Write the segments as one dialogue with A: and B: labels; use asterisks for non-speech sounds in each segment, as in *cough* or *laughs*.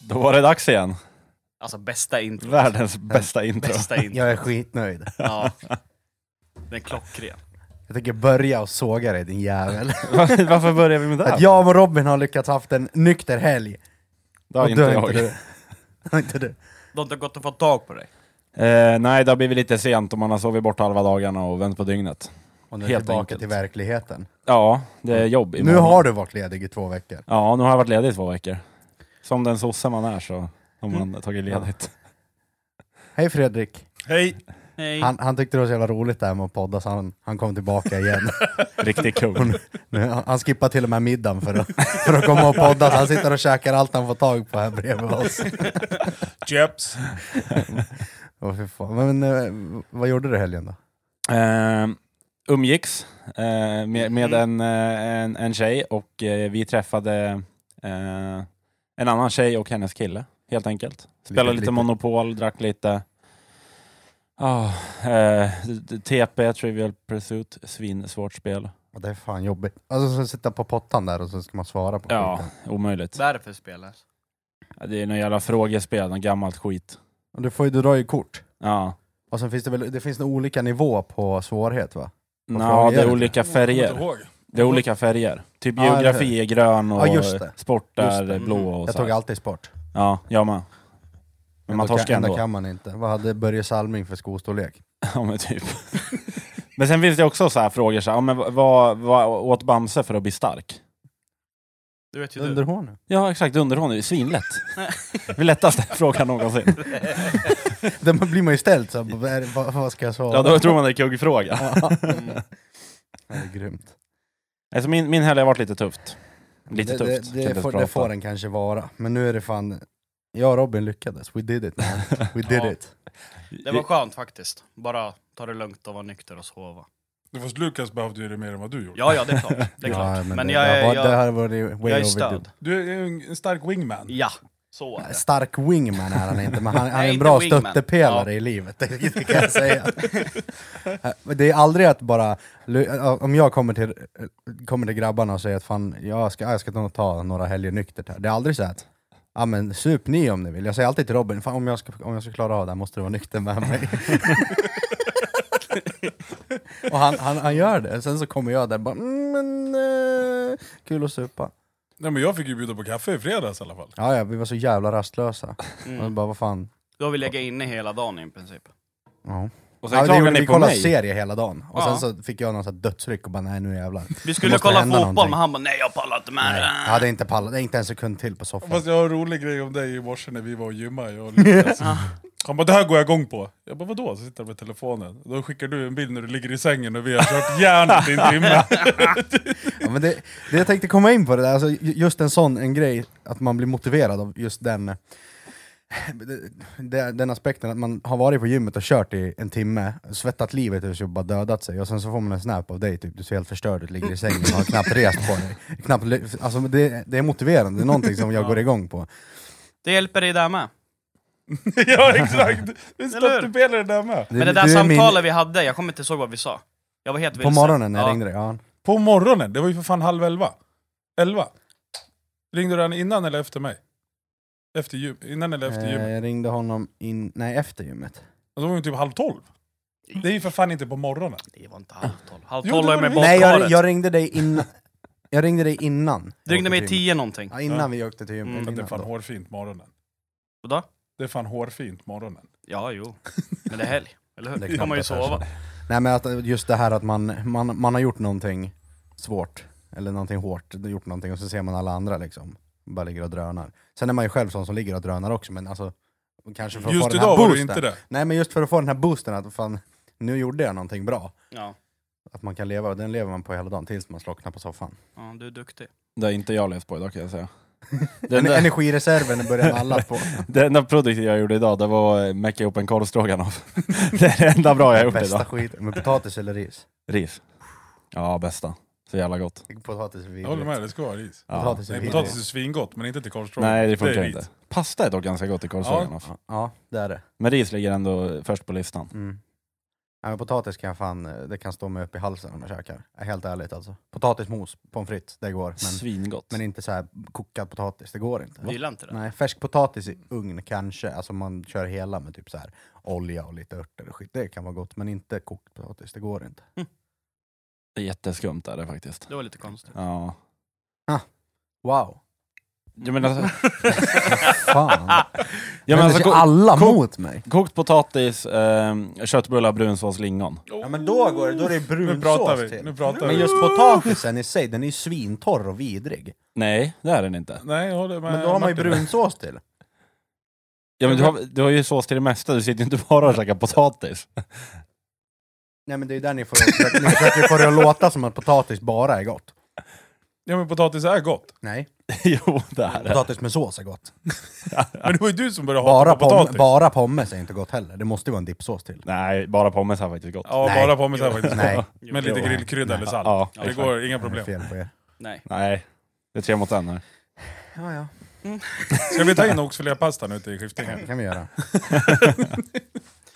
A: Då var det dags igen.
B: Alltså
C: *laughs*
B: bästa intro.
A: Världens bästa *laughs* intro.
B: Bästa intro.
C: Jag är skitnöjd.
B: Ja. Den är klockren.
C: Jag tänker börja och såga dig
A: *laughs*
C: din jävel.
A: Varför varför börjar vi med det?
C: Att jag och Robin har lyckats haft en nykter helg.
A: det har
C: och
A: inte
C: du
A: jag.
C: du. *laughs* Har inte du.
B: De har inte gått och fått tag på dig.
A: Eh, nej, det har blivit lite sent och man har sovit bort halva dagarna och vänt på dygnet.
C: Och nu är
A: Helt
C: tillbaka
A: enkelt.
C: till verkligheten.
A: Ja, det är jobb
C: Nu
A: imorgon.
C: har du varit ledig i två veckor.
A: Ja, nu har jag varit ledig i två veckor. Som den sosse man är så har man tagit ledigt.
C: Hej Fredrik.
B: Hej! Hej!
C: Han, han tyckte det var så jävla roligt det här med att podda så han, han kom tillbaka
A: *laughs*
C: igen.
A: Riktigt kul.
C: Nu, han han skippar till och med middagen för att, för att komma och podda. Så Han sitter och käkar allt han får tag på här bredvid oss.
D: Chips.
C: *laughs* Åh, fy fan. Men eh, vad gjorde du i helgen då?
A: Eh, umgicks eh, med,
D: Mm.
A: med en, eh, en, en tjej och eh, vi träffade eh, en annan tjej och hennes kille, helt enkelt. Spelade lite,
C: lite.
A: Monopol, drack lite Ah, eh, TP, Trivial Pursuit, svinsvårt spel.
C: Ja, Det är fan jobbigt. Alltså så sitta på pottan där och så ska man svara på
A: Ja,
C: skiten.
A: omöjligt.
B: Vad är det för spel? här?
A: Det är någon jävla frågespel, något gammalt skit.
C: Och du, får ju, du drar ju kort.
A: Ja.
C: Och sen finns det väl, det finns nog olika nivå på svårhet va? Vad
A: Nå,
C: fråga
A: det
C: är
A: är
C: det?
A: olika
D: Jag kommer
A: färger.
D: inte ihåg.
A: Det är olika färger. Typ
C: Ja, eller
A: geografi är grön och
C: Ja, just det.
A: sport är
C: Just det. Mm.
A: blå och
C: Jag
A: så här.
C: tog alltid sport.
A: Ja, jag med. Men man
C: Ändå kan-
A: torskar ändå.
C: kan man inte. Vad hade Börje Salming för skostorlek?
A: *laughs* Ja, men typ. *laughs* men sen finns det också så här frågor, så här, ja, men vad- vad, vad åt Bamse för att bli stark?
B: Du vet ju
C: Under
B: du.
C: *laughs* hår
A: Ja, exakt. Underhållning. Det är svinlätt.
B: *laughs*
A: det är lättaste frågan någonsin.
C: Där man blir man ju ställd så här, vad, är det- vad, vad ska jag svara?
A: Ja, då tror man det är kuggfråga. *laughs*
C: Mm. det är grymt.
A: Alltså, min, min helg har varit lite tufft. Lite
C: det,
A: tufft.
C: Det,
A: kan
C: det,
A: inte
C: får,
A: prata.
C: det får den kanske vara. Men nu är det fan... Jag och Robin lyckades. We did
A: *laughs*
C: it man. We did
B: Ja.
C: it.
B: *laughs* Det var skönt faktiskt. Bara ta det lugnt och vara nykter och sova.
D: Fast Lukas behövde ju det mer än vad du gjorde.
B: Ja, ja, det är klart. Det är klart.
C: Ja,
B: men
C: det,
B: jag,
C: det,
B: är-
C: har-
B: jag,
C: det här var det way
B: jag är
C: overdue.
B: stöd.
D: Du är ju en- en stark wingman.
B: Ja, så är det.
C: Stark wingman är han inte, men han, han är
B: Nej,
C: en
B: inte
C: bra
B: wingman.
C: stöttepelare i livet, det det kan jag säga. *laughs* Men det är aldrig att bara, eh, om jag kommer till, eh, kommer till grabbarna och säger att fan, jag ska, jag ska nog ta några helger nyktert här, det är aldrig så att Ja men sup ni om ni vill, jag säger alltid till Robin, fan, om, jag ska, om jag ska klara av det här måste du vara nykter med mig. *laughs* och han, han, han gör det, sen så kommer jag där och bara, mm, men eh, kul att supa.
D: Nej, men jag fick ju bjuda på kaffe i fredags i alla fall.
C: Ja, ja, vi var så jävla rastlösa. Och jag
B: Mm.
C: bara, vad fan,
B: Då har vi legat inne hela dagen i princip.
C: ja.
A: Och sen
C: Ja, det
A: klagar
C: gjorde,
A: ni
C: vi
A: på
C: kollade
A: mig.
C: serie hela dagen, och
B: Ja.
C: sen så fick jag någon sån här dödsryck och bara nej nu jävlar.
B: Vi
C: Det
B: skulle
C: måste
B: kolla
C: hända
B: fotboll,
C: någonting.
B: men han bara nej, jag pallar inte med
C: Nej,
B: det.
C: jag hade inte pallat, inte en sekund till på
B: *laughs*
C: soffan.
D: Fast jag har en rolig grej om dig i morse när vi var och gymmade. Jag och Lukas. Han bara, det här går jag igång på. Jag bara, vadå? Så sitter jag med telefonen. Då skickar du en bild när du ligger i sängen och vi har
B: *laughs*
D: kört järnet i en timme.
C: Ja, men det, det jag tänkte komma in på det där, alltså, ju- just en sån en grej, att man blir motiverad av just den, den, den aspekten att man har varit på gymmet och kört i en timme, svettat livet ur sig och bara dödat sig, och sen så får man en snap av dig, typ, du ser helt förstörd ut, ligger i sängen och har knappt rest på dig. Knappt, ly- alltså, det, det är motiverande, det är någonting som jag går igång på.
B: Det hjälper dig där med.
D: *laughs* ja, exakt. En
B: Eller hur?
D: stöttepelare där med.
B: Men det där
C: du är min-
B: samtalet vi hade, jag kommer inte ihåg vad vi sa. Jag var helt vilse.
C: På morgonen när jag
B: Ja.
C: ringde dig, ja.
D: På morgonen, det var ju för fan halv elva. Elva. Ringde du den innan eller efter mig? Efter gym, innan eller efter
C: Eh,
D: gymmet?
C: Jag ringde honom in, nej, efter gymmet.
D: Och Då var det typ halv tolv. Det är ju för fan inte på morgonen.
B: Det var inte halv tolv. Halv
D: Jo,
B: tolv
D: det
B: har jag
D: var
B: med
D: det.
C: Nej, jag,
B: badkaret.
C: jag ringde dig innan. Jag ringde dig innan.
B: Du ringde
C: jag åkte
B: mig
C: till
B: tio någonting.
C: gymmet. Ja, innan vi åkte till gymmet.
B: Mm.
D: För att det är
C: Innan
D: fan
C: då.
D: hårfint morgonen.
B: Vadå?
D: Det är fan hårfint morgonen.
B: Ja,
C: *laughs*
B: jo. Men det är helg, eller hur?
C: Det är
B: Då kan man ju
C: knappt att
B: sova.
C: Nej men att, just det här att man, man, man har gjort någonting svårt, eller någonting hårt, gjort någonting och så ser man alla andra liksom, bara ligger och drönar. Sen är man ju själv sån som ligger och drönar också, men alltså, kanske för att
D: Just
C: få den här
D: idag var du
C: boosten.
D: inte det.
C: Nej men just för att få den här boosten, att fan, nu gjorde jag någonting bra.
B: Ja.
C: Att man kan leva, den lever man på hela dagen tills man slocknar på soffan.
B: ja, du är duktig.
A: Det har inte jag levt på idag kan
C: *laughs*
A: jag säga. Den,
C: Den
A: där-
C: Energireserven börjar
A: *laughs*
C: alla på.
A: det enda produktet jag gjorde idag, det var att mäcka ihop en korvstroganoff. *laughs* det är det enda bra jag har gjort
C: Bästa
A: idag.
C: skit, med potatis eller ris?
A: Ris. Ja, bästa. Så jävla gott.
C: Potatis är
D: Jag håller
C: vidrigt.
D: med, det ska vara ris.
A: Ja.
C: Potatis är
D: Nej,
C: vidrigt.
D: potatis är svingott, men inte till korvstroganoff.
A: Nej, det funkar
D: är
A: inte.
D: ris.
A: Pasta är dock ganska gott i korvstroganoff.
C: Ja, det är det.
A: Men ris ligger ändå först på listan.
C: Mm. Ja, men potatis kan jag fan, eh, det kan stå mig upp i halsen om jag käkar. Ja, Helt ärligt alltså. Potatismos, pommes frites, det går. Men,
A: Svingott.
C: men inte så här kokad potatis, det går inte.
B: Du gillar inte det?
C: Nej, färsk potatis i ugn kanske, alltså man kör hela med typ så här olja och lite örter och skit. Det kan vara gott, men inte kokt potatis, det går inte.
A: Det är jätteskumt är det faktiskt.
B: Det var lite
C: *laughs*
B: konstigt.
A: Ja.
C: Wow!
A: Jag menar, alltså, *laughs* jag
C: Fan!
A: menar alltså,
C: Vänder sig
A: ko-
C: alla
A: ko-
C: mot mig!
A: kokt potatis, ehm, köttbullar, brunsås, lingon.
C: Ja men då går det, då är det
D: Nu pratar
C: brunsås
D: vi.
C: till.
D: Nu pratar
C: Men
D: vi.
C: just potatisen i sig, den är ju svintorr och vidrig.
A: Nej, det är den inte.
D: Nej, jag håller med
C: Men då har man ju
D: Martin.
C: brunsås till.
A: Ja, men du, har, du har ju sås till det mesta, du sitter ju inte bara och käkar potatis. *laughs*
C: Nej men det är där ni får, ni försöker få *laughs* det att låta som att potatis bara är gott.
D: Ja men potatis är gott.
C: Nej,
A: jo, det är det.
C: potatis med sås är gott.
D: Men det var ju du som började hata
C: Bara,
D: på
C: pom,
D: potatis.
C: bara pommes är inte gott heller, det måste ju vara en dippsås till.
A: Nej, bara pommes är faktiskt gott.
D: Ja,
C: Nej.
D: bara pommes är faktiskt
C: Nej.
D: gott. Med lite
A: Jo.
D: grillkrydda
C: Nej.
D: eller salt.
A: Ja,
D: det
A: exakt.
D: går, inga
C: Det är
D: problem.
C: fel på er.
B: Nej.
A: Nej, det är tre mot en här.
C: Ja, ja.
D: Ska vi ta in oxfilépastan ute i skiftningen?
C: Det kan vi
D: *laughs*
C: göra.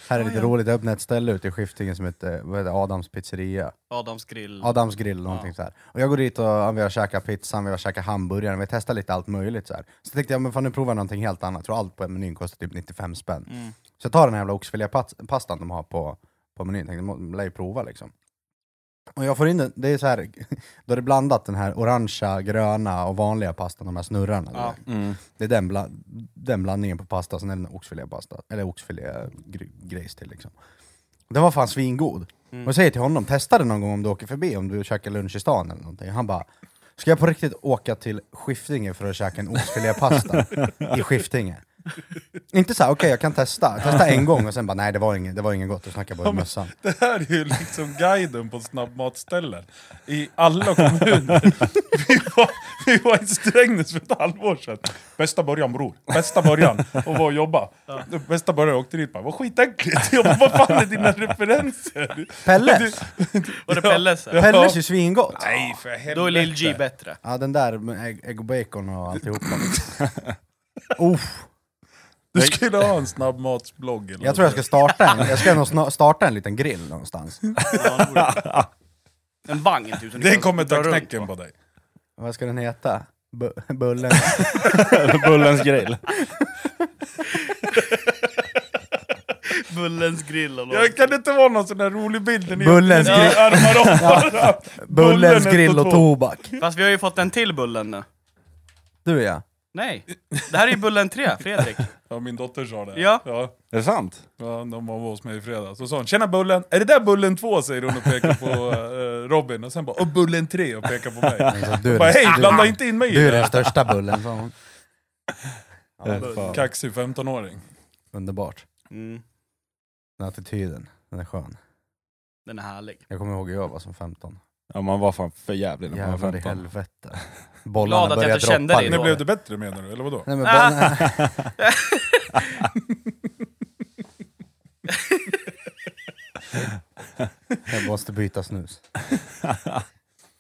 C: Här är lite roligt, jag öppnade ett ställe ute i Skiftingen som heter, vad heter det, Adams pizzeria.
B: Adams grill.
C: Adams grill eller någonting så här. Och jag går dit och ja, vi har käkat pizza, vi har käkat hamburgare, vi testar lite allt möjligt så här. Så tänkte jag, men fan nu provar jag någonting helt annat. Jag tror allt på menyn kostar typ 95 spänn.
B: Mm.
C: Så jag tar den här jävla oxfilépastan de har på, på menyn, tänkte må- lär ju prova liksom. Och jag får in den, det är så här, *laughs* då är det blandat den här orangea, gröna och vanliga pastan, de här snurrarna. du
B: Ja.
C: vet. Det är den, bla, den blandningen på pasta, sen är det en oxfilépasta, eller oxfilégrejs till liksom. Den var fan svingod. Och jag säger till honom, testa den någon gång om du åker förbi, om du käkar lunch i stan eller någonting. Han bara, ska jag på riktigt åka till Skiftinge för att käka en oxfilépasta i Skiftinge? Inte såhär, okej jag kan testa, testa en gång och sen bara, nej det var inget, det var inget gott, och snackar bara i mössan.
D: Det här är ju liksom guiden på snabbmatsställen i
C: *laughs*
D: alla kommuner. Vi var, vi var i Strängnäs för ett halvår sedan. Bästa början bror, bästa början att vara och jobba. Bästa början, jag åkte dit bara, vad skitäckligt. Jag bara, vad fan är dina referenser?
C: Pelles!
B: Var det Pelles? eller?
C: Pelles är ju svingott!
D: Nej för helvete.
B: Då är Lill G bättre.
C: Ja den där med ägg, ägg och bacon och alltihopa. Uff.
D: Du skulle ha en snabbmatsblogg eller
C: Jag tror jag ska starta en, jag ska nog sna- starta en liten grill någonstans.
B: Ja, nog det. En vagn typ. som ni
D: Det
B: kan
D: kommer
B: dra
D: ta
B: runt
D: knäcken på dig.
C: Vad ska den heta? Bu- bullen?
A: *laughs* Bullens grill.
B: Bullens grill och
D: Jag kan det inte vara någon sån där rolig bild när ni
C: Bullens
D: när ni
C: grill.
D: armar om varandra? *laughs* Bullen
C: Bullens
D: ett och
C: grill och
D: två.
C: tobak.
B: Fast vi har ju fått en till Bullen nu.
C: Du ja.
B: Nej, det här är ju Bullen 3,
C: *laughs*
B: Fredrik.
D: Ja, min dotter sa det.
B: Ja.
D: Ja,
A: Är det sant?
D: ja, de var hos mig i fredags. Så sa hon “Tjena Bullen!” “Är det där Bullen 2?” säger hon och pekar på eh, Robin. Och sen bara “Och Bullen 3” och pekar
C: *laughs*
D: på mig.
C: Så Du är,
D: Bara
C: den-
D: “Hej,
C: du-
D: blanda inte in mig i
C: du är
D: det
C: den
D: här!”
C: största bullen, sa hon. Ja,
A: Fan.
D: Kaxig 15-åring.
C: underbart.
B: Mm,
C: Den attityden, den är skön.
B: den är
C: *laughs*
B: härlig.
C: Jag kommer ihåg hur jag var som 15.
A: Ja, man var fan för jävlig när man var
C: Jävlar i
A: 15.
C: helvete.
B: Glad
C: Bollarna
B: att jag
C: började
B: inte kände
C: droppa.
B: dig
D: När
B: då.
D: blev du bättre menar du? Eller vadå?
C: Nej, men
D: *laughs*
C: bollarna...
A: *laughs*
C: jag måste byta snus.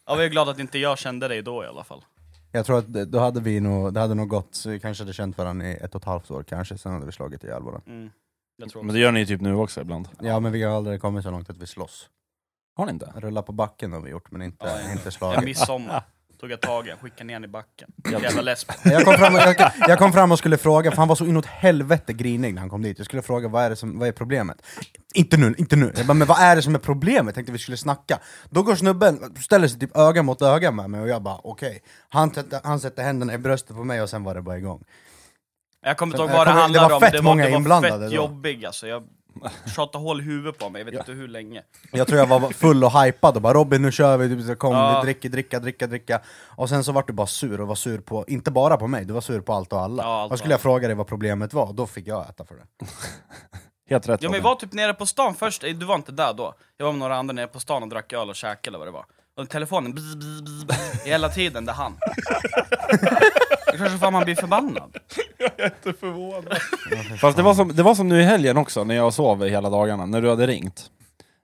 B: Ja, vi är glada att inte jag kände dig då i alla fall.
C: Jag tror att det- då hade vi nog, det hade nog gått, så vi kanske hade känt varandra i ett och ett halvt år kanske, sen hade vi slagit ihjäl varandra.
B: Mm, jag
A: *laughs*
B: tror
A: Men det gör ni ju typ nu också ibland.
C: Ja men vi har aldrig kommit så långt att vi slåss.
A: Har ni inte?
C: Rulla på backen har vi gjort, men inte,
B: Ja, ja.
C: inte
B: En
C: slagit.
B: midsommar tog jag tag i den, skickade ner den i backen. Jävla lesbo.
C: Jag kom, fram, jag, jag kom fram och skulle fråga, för han var så inåt helvete grinig när han kom dit. Jag skulle fråga vad är, det som, vad är problemet? Inte nu, inte nu. Jag bara, men vad är det som är problemet? Jag tänkte vi skulle snacka. Då går snubben, ställer sig typ öga mot öga med mig och jag bara okej. Han, sätter- han sätter händerna i bröstet på mig och sen var det bara igång.
B: Jag kommer inte ihåg
C: Jag
B: vad det
C: kommer- det
B: handlade
C: var
B: om,
C: fett
B: det var,
C: många
B: det var
C: inblandade
B: fett
C: då.
B: jobbig alltså. Jag tjatade hål i huvudet på mig, jag vet inte hur länge.
C: Jag tror jag var full och hypad och bara Robin nu kör vi, typ så kom
B: Ja.
C: vi dricker, dricka, dricka, dricka. Och sen så vart du bara sur och var sur på, inte bara på mig, du var sur på allt och alla.
B: Ja, allt och
C: och skulle jag fråga dig vad problemet var, då fick jag äta för det.
A: Helt rätt
B: Ja men vi
A: Robin.
B: var typ nere på stan först, Eh, du var inte där då. Jag var med några andra nere på stan och drack öl och käkade eller vad det var. Och telefonen bzz, bzz, bzz, bzz, hela tiden, det han. Det kanske fan man blir förbannad.
D: Inte förvånad.
A: Fast det var, som, det var som nu i helgen också, när jag sov hela dagarna, när du hade ringt.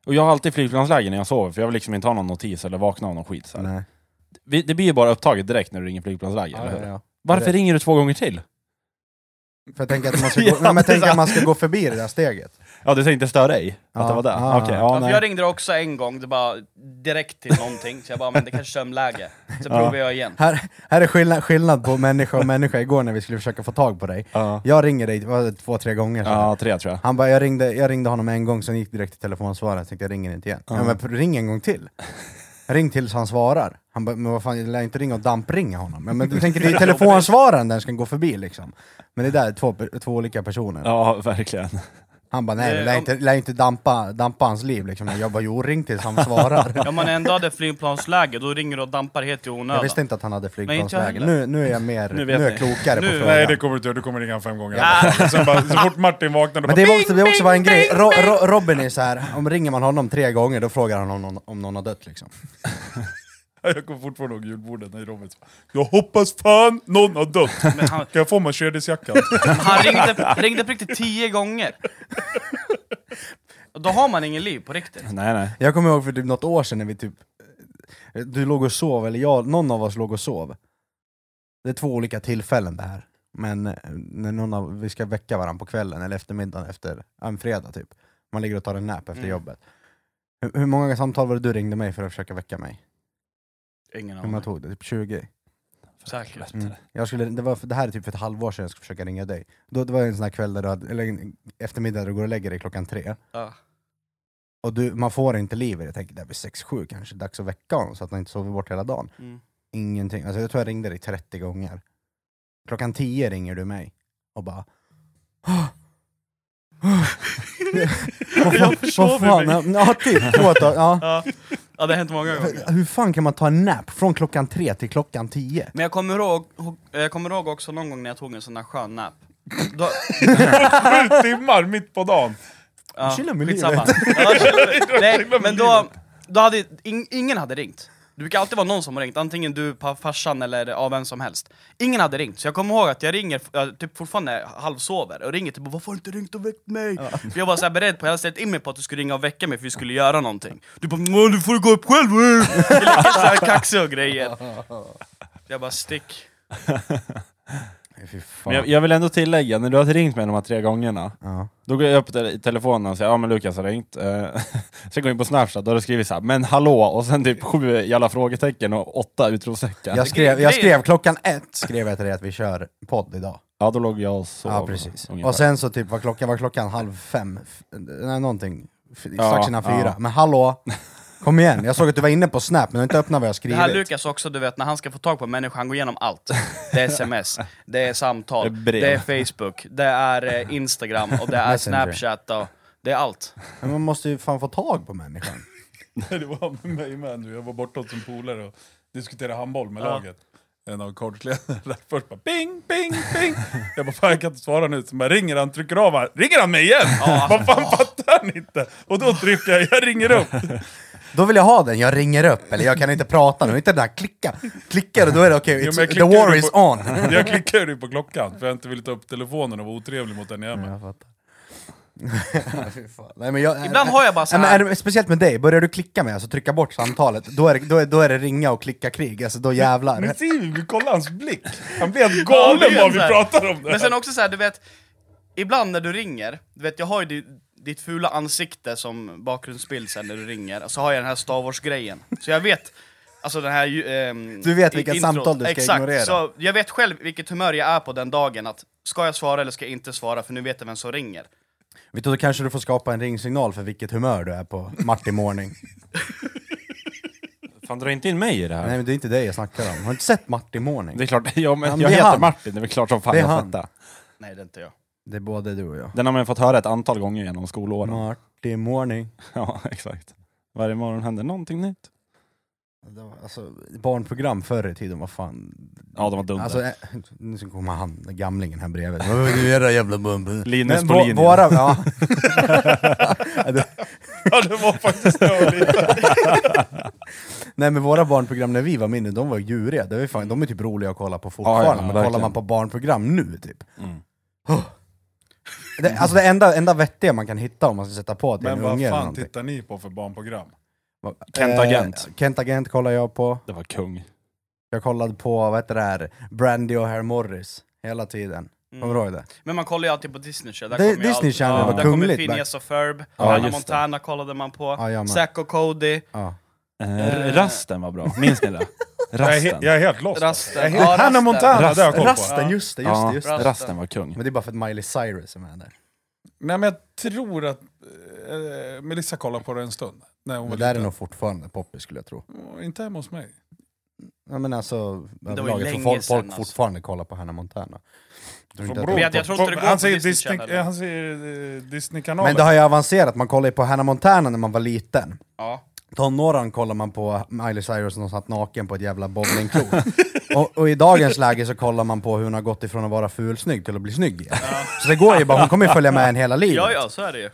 A: Och jag har alltid flygplansläge när jag sover, för jag vill liksom inte ha någon notis eller vakna av någon skit. Så här.
C: Nej.
A: Vi, det blir ju bara upptaget direkt när du ringer flygplansläge,
C: Ja,
A: eller hur?
C: ja, ja.
A: Varför
C: Direkt.
A: ringer du två gånger till?
C: För jag tänker
B: *laughs*
C: att man ska, gå, nej, men jag tänker att man ska gå förbi det där steget.
A: Ja, du tänkte störa dig? Att
C: Ja.
A: det var det?
C: Ja.
A: Okej,
B: Ja,
A: ja, Ah.
B: för jag
A: nej.
B: ringde också en gång, det bara direkt till någonting, så jag bara men det kanske är sömnläge. Så provar jag igen.
C: Här, här är skillnad, skillnad på människa och människa igår när vi skulle försöka få tag på dig.
A: Ja.
C: Jag ringer dig vad var det, två, tre gånger. så här.
A: ja, tre tror jag.
C: Han bara, jag ringde, jag ringde honom en gång, sen gick direkt till telefonsvararen, jag tänkte jag ringer inte igen. Ja, men ring en gång till. Ring tills han svarar. Han bara, men vad fan, jag lär inte ringa och dampringa honom. Ja, men du tänker, det är telefonsvararen den ska gå förbi liksom. Men det där är två, pe- två olika personer.
A: Ja, verkligen.
C: Han bara, nej,
B: Eh,
C: lär
B: om-
C: inte, lär inte dampa, dampa hans liv liksom. Jag bara, jo ring tills han svarar.
B: Om man ändå hade flygplansläge, då ringer du och dampar helt i
C: Jag
B: onödan.
C: visste inte att han hade
B: Nej,
C: flygplansläge.
B: inte jag
C: Nu, nu är jag mer, nu,
A: Nu vet
C: är jag
A: ni.
C: klokare på
B: Nu-
C: frågan.
D: Nej det kommer du inte göra, du kommer ringa han fem gånger. *laughs* Sen bara, så fort Martin vaknar, då
C: Men
D: bara,
C: det var också, det var också bara en grej, Ro, Ro, Robin är så här, om ringer man honom tre gånger då frågar han om någon, om någon har dött liksom.
D: jag kommer fortfarande ihåg julbordet när Robin sa Jag hoppas fan någon har dött! Kan
B: Men han,
D: jag få Mercedesjackan?
B: han
C: *laughs*
B: ringde, ringde på riktigt tio gånger. Och Då har man ingen liv på riktigt.
A: Nej, nej.
C: Jag kommer ihåg för typ något år sedan när vi typ, du låg och sov, eller jag, någon av oss låg och sov. Det är två olika tillfällen det här. Men eh, när någon av, vi ska väcka varandra på kvällen eller eftermiddagen efter, ja, en fredag typ. Man ligger och tar en nap efter
B: Mm.
C: jobbet. Hur, hur många samtal var det du ringde mig för att försöka väcka mig?
B: Ingen
C: Hur många tog det? Typ 20?
B: Säkert.
C: Mm. Jag skulle, det, var, det här är typ för ett halvår sedan jag skulle försöka ringa dig. Då, det var en sån här kväll, där du hade, eller en eftermiddag, där du går och lägger dig klockan tre.
B: Ja.
C: Och du, man får inte liv i det. Jag tänker, det är väl sex, sju kanske, dags att väcka honom så att han inte sover bort hela dagen.
B: Mm.
C: Ingenting. Alltså, jag tror jag ringde dig 30 gånger. Klockan 10 ringer du mig och bara... "Åh, åh." Vad fan-
D: försover
C: vad fan-
D: mig.
C: Ja, typ. Två tag- ja.
B: Ja. ja, det har hänt många gånger.
C: Hur fan kan man ta en nap från klockan tre till klockan 10?
B: Men jag kommer ihåg, jag kommer ihåg också någon gång när jag tog en sån där skön nap. Då,
D: *laughs* Sju timmar mitt på dagen!
B: ja,
C: Chilla med
B: skitsamma. Ja, chilla- Nej, men då, då hade in, ingen hade ringt. Det brukar alltid vara någon som har ringt, antingen du, pa- farsan eller ja, vem som helst. Ingen hade ringt, så jag kommer ihåg att jag ringer, jag typ fortfarande halvsover, och ringer typ och 'Varför har du inte ringt och väckt mig?' För jag var så här beredd på, jag hade ställt in mig på att du skulle ringa och väcka mig för vi skulle göra någonting. Du bara 'Nå, du får gå upp själv' *laughs* Det är lite så här kaxiga och grejer. Jag bara 'Stick'
C: Fy
A: Men
C: fan.
A: jag, jag vill ändå tillägga, när du har ringt mig de här tre gångerna,
C: Ja.
A: då går jag upp te- i telefonen och säger ja men Lukas har ringt. Eh, *laughs* Sen går jag in på Snapchat och då har du skrivit så här, men hallå, och sen typ sju jävla frågetecken och åtta utropstecken.
C: Jag skrev,
B: grejen-
C: jag skrev klockan ett skrev jag till dig att vi kör podd idag.
A: Ja, då låg jag och sov.
C: Ja, precis.
A: ungefär.
C: Och sen så typ var klockan, var klockan halv fem, f- nej, någonting, f-
A: Ja,
C: strax innan
A: ja.
C: fyra. Men hallå, kom igen, jag såg att du var inne på Snap men du har inte öppnat vad jag
B: Det här
C: skrivit.
B: Lukas också, du vet när han ska få tag på en människa, han går igenom allt. Det är
C: *laughs*
B: sms, det är
A: Det
B: samtal,
A: är
B: det
A: brev.
B: är, Facebook, det är eh, Instagram och det är
C: *laughs* Messenger.
B: Snapchat och det är allt.
C: Men man måste ju fan få tag på människan.
D: Nej, *laughs* Det var med mig med nu, jag var borta hos en polare och diskuterade handboll med
B: Ja.
D: laget. En av kortledarna där *laughs* först bara ping, ping, ping. Jag bara fan jag kan inte svara nu. Så bara ringer han, trycker av han. Ringer han mig igen? *laughs* Vad fan fattar han inte? Och då trycker jag, jag ringer upp.
B: *laughs*
C: Då vill jag ha den, jag ringer upp, eller jag kan inte prata nu, inte den där klicka. Klickar du då är det okej,
D: Jo,
C: it's-
D: men jag
C: the
D: klickar
C: war
D: ju
C: is
D: på-
C: on.
D: Jag klickar ju på klockan för jag inte ville ta upp telefonen och vara otrevlig mot den jag är med.
C: Jag *laughs* fattar. Fy fan. Nej, men jag,
B: Ibland har jag bara så
C: Nej, men
B: här-
C: är det, speciellt med dig, börjar du klicka med, alltså trycka bort samtalet, då är, det- då är, då är det ringa och klicka krig, alltså då jävlar.
D: Men ser vi, vi kollar hans blick. Han blir helt
B: Ja, det är
D: galen vad vi
B: så här.
D: pratar om det
B: Men sen
D: här.
B: också så här, du vet, ibland när du ringer, du vet jag har ju ditt, ditt fula ansikte som bakgrundsbild sen när du ringer, och så har jag den här Star Wars-grejen. Så jag vet, alltså den här ju- ehm,
C: Du vet
B: i-
C: vilka samtal du ska
B: Exakt,
C: ignorera.
B: så jag vet själv vilket humör jag är på den dagen, att ska jag svara eller ska jag inte svara, för nu vet jag vem som ringer.
C: Vet du, då kanske du får skapa en ringsignal för vilket humör du är på Martin *laughs* Morning.
A: Fan, dra inte in mig i det här.
C: Nej men det är inte dig jag snackar om, har du inte sett Martin Morning?
A: Det är klart, *laughs* ja,
C: Ja,
A: men
C: men
A: jag
C: det är
A: heter
C: han.
A: Martin, det är väl klart som fan
C: Det är
A: jag
C: han.
A: fattar.
B: Nej det är inte jag.
C: Det är både du och jag.
A: Den har man ju fått höra ett antal gånger genom skolåren.
C: Martin Morning.
A: *laughs* Ja, exakt. Varje morgon händer någonting nytt.
C: Det var, alltså, barnprogram förr i tiden, vad fan...
A: Ja, de var dunder.
C: Alltså, äh, nu så kommer han, den gamlingen här bredvid. Vad vill du göra jävla bumpen?
A: Linus på
C: vå-
A: linjen.
C: våra, *laughs* ja.
D: *laughs* Ja, det var
B: *laughs*
D: faktiskt dåligt.
C: Nej men våra barnprogram när vi var mindre, de var djuriga. Det var ju fan, de är typ roliga att kolla på
A: ja,
C: fortfarande, men kollar
A: verkligen. Mm.
C: man på barnprogram nu typ. Det, alltså det enda, enda vettiga man kan hitta om man ska sätta på till
D: Men
C: en
D: vad
C: unge eller
D: fan typ-
C: någonting.
D: tittar ni på för barnprogram?
A: Kent
C: Eh,
A: Agent.
C: Kent Agent kollar jag på.
A: Det var kung.
C: Jag kollade på, vad heter det här, Brandy och Herr Morris hela tiden. Kommer
D: Mm.
C: du ihåg det?
B: Men man kollar ju alltid på Disney Channel.
C: Det-
B: Där kommer ju
C: Disney
B: allt-
C: Channel
A: var
B: Där kommer
C: kungligt
B: Phineas och Ferb,
A: Ja,
B: Hannah
A: just det.
B: Montana kollade man på,
C: Ja, jag med.
B: Zack och Cody,
C: Ja.
A: Eh, rasten var bra, minns
C: *laughs*
A: ni det?
D: Jag är, he-
A: Rasten.
D: jag är helt lost.
B: Rasten.
D: Ja, Hannah
B: Rasten.
D: Montana, det har jag koll på.
C: Rasten, just det, just
A: Ja,
C: det, just det.
B: Rasten.
A: rasten var kung.
C: *laughs* Men det är bara för att Miley Cyrus är med där.
D: Nej, men jag tror att eh, Melissa kollade på det en stund. När hon
C: Det
D: var
C: där är
D: liten.
C: nog fortfarande poppis skulle jag tro.
D: Mm, Inte hemma hos mig.
C: Ja, men alltså,
B: var ju
C: överlag, jag tror
B: länge
C: folk,
B: sedan,
C: folk
B: alltså.
C: fortfarande kollar på Hannah Montana. Jag tror inte att
D: Från
B: Vet
C: det-
B: jag, jag tror inte det går
D: han
B: på
D: säger
B: Disney
D: Disney,
B: Channel.
D: eh, han säger eh, Disney-kanalen.
C: Men det har ju avancerat, man kollar ju på Hannah Montana när man var liten.
B: Ja.
C: Tonåren kollar man på Miley Cyrus när hon satt naken på ett
B: *laughs*
C: jävla bowlingklot. och, och i dagens läge så kollar man på hur hon har gått ifrån att vara fulsnygg till att bli snygg igen. Så det går ju bara, hon kommer ju följa med en hela livet.
B: ja, ja, så är det ju.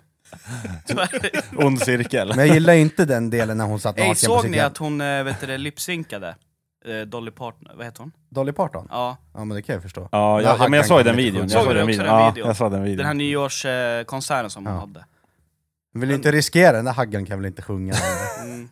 B: Så är det ju.
A: Ond cirkel.
C: Men jag gillar ju inte den delen när hon satt naken
B: Ey,
C: på
B: såg
C: sitt
B: ni
C: jävla-
B: att hon eh, vet du, det, lipsynkade? Eh, Dolly Parton, vad heter hon?
C: Dolly Parton?
B: Ja,
C: Ja men det kan jag förstå.
A: Ja,
C: Ja,
A: jag, ja, men jag
C: kan-
A: såg
C: kan
A: den
C: lite
A: videon.
C: sjukt.
A: Jag
B: Såg
A: såg
B: du
A: den
B: också
A: videon.
B: den
A: Ja,
B: videon?
A: jag såg den
B: den här
A: videon.
B: nyårskonserten som hon
C: Ja.
B: hade.
C: Hon vill ju inte riskera, den där haggan kan väl
B: *laughs*
C: inte sjunga?
B: Mm.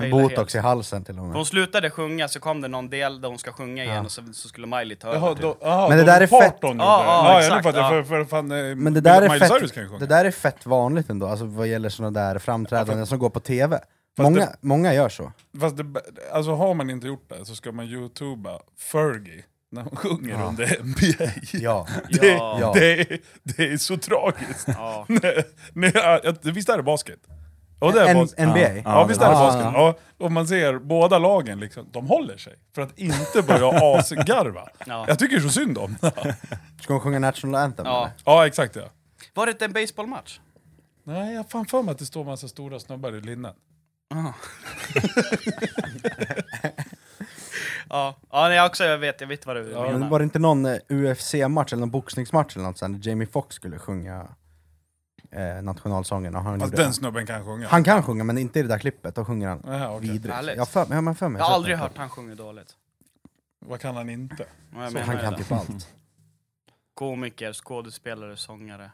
C: Med
B: Failade
C: botox i halsen till och
B: För
C: med.
B: Hon slutade sjunga, så kom det någon del där hon ska sjunga igen
C: Ja.
B: och så, så skulle Miley ta
D: Jaha,
B: över. Typ.
D: då, aha,
C: Men det
D: då
C: där är fett.
D: Parton gjorde det.
B: Ja, ja,
D: Ja, jag
B: exakt,
D: nu fattar.
B: ja.
D: För, för fan, eh,
C: Men det där, är
D: Miley Cyrus kan
C: fett,
D: ju sjunga.
C: det där är fett vanligt ändå, alltså vad gäller såna där framträdanden som går på TV.
D: Fast
C: Många,
D: det-
C: många gör
D: *laughs*
C: så.
D: Fast det, alltså har man inte gjort det så ska man youtuba Fergie när hon sjunger
C: Ja.
D: under NBA.
C: Ja.
D: Det, *laughs*
B: Ja.
D: Det, är, det är så tragiskt. *laughs*
B: Ja.
D: Nej, nej, ja, visst är det basket? Ja, det är
C: N-
D: bas-
C: NBA?
D: Ja, ja visst är det
C: Ja,
D: basket?
C: ja.
D: Ja, och man ser båda lagen, liksom, de håller sig för att inte börja asgarva.
B: Ja.
D: Jag tycker så synd om det.
C: Ska hon sjunga National Anthem?
B: Ja.
C: eller?
D: Ja, exakt ja.
B: Var det inte en baseballmatch?
D: Nej, jag har fan för mig att det står massa stora snubbar i linnen.
B: Ah. *laughs* Ja, ja nej, också, jag vet, jag vet vad du
C: Men
B: menar.
C: var det inte någon eh, UFC-match eller någon boxningsmatch eller något sånt där Jamie Foxx skulle sjunga eh, nationalsången? Och han,
D: Fast
C: gjorde-
D: den snubben kan sjunga.
C: han kan sjunga men inte i det där klippet, då sjunger han
D: Jaha, okej.
C: vidrigt.
B: Härligt.
C: Jag har för, jag har för mig.
B: Jag har
C: sett
B: aldrig
C: den.
B: hört han sjunga dåligt.
D: Vad kan han inte?
B: Ja, jag
C: Så
B: menar
C: han
B: ju
C: kan
B: det.
C: typ allt.
B: Komiker, skådespelare, sångare.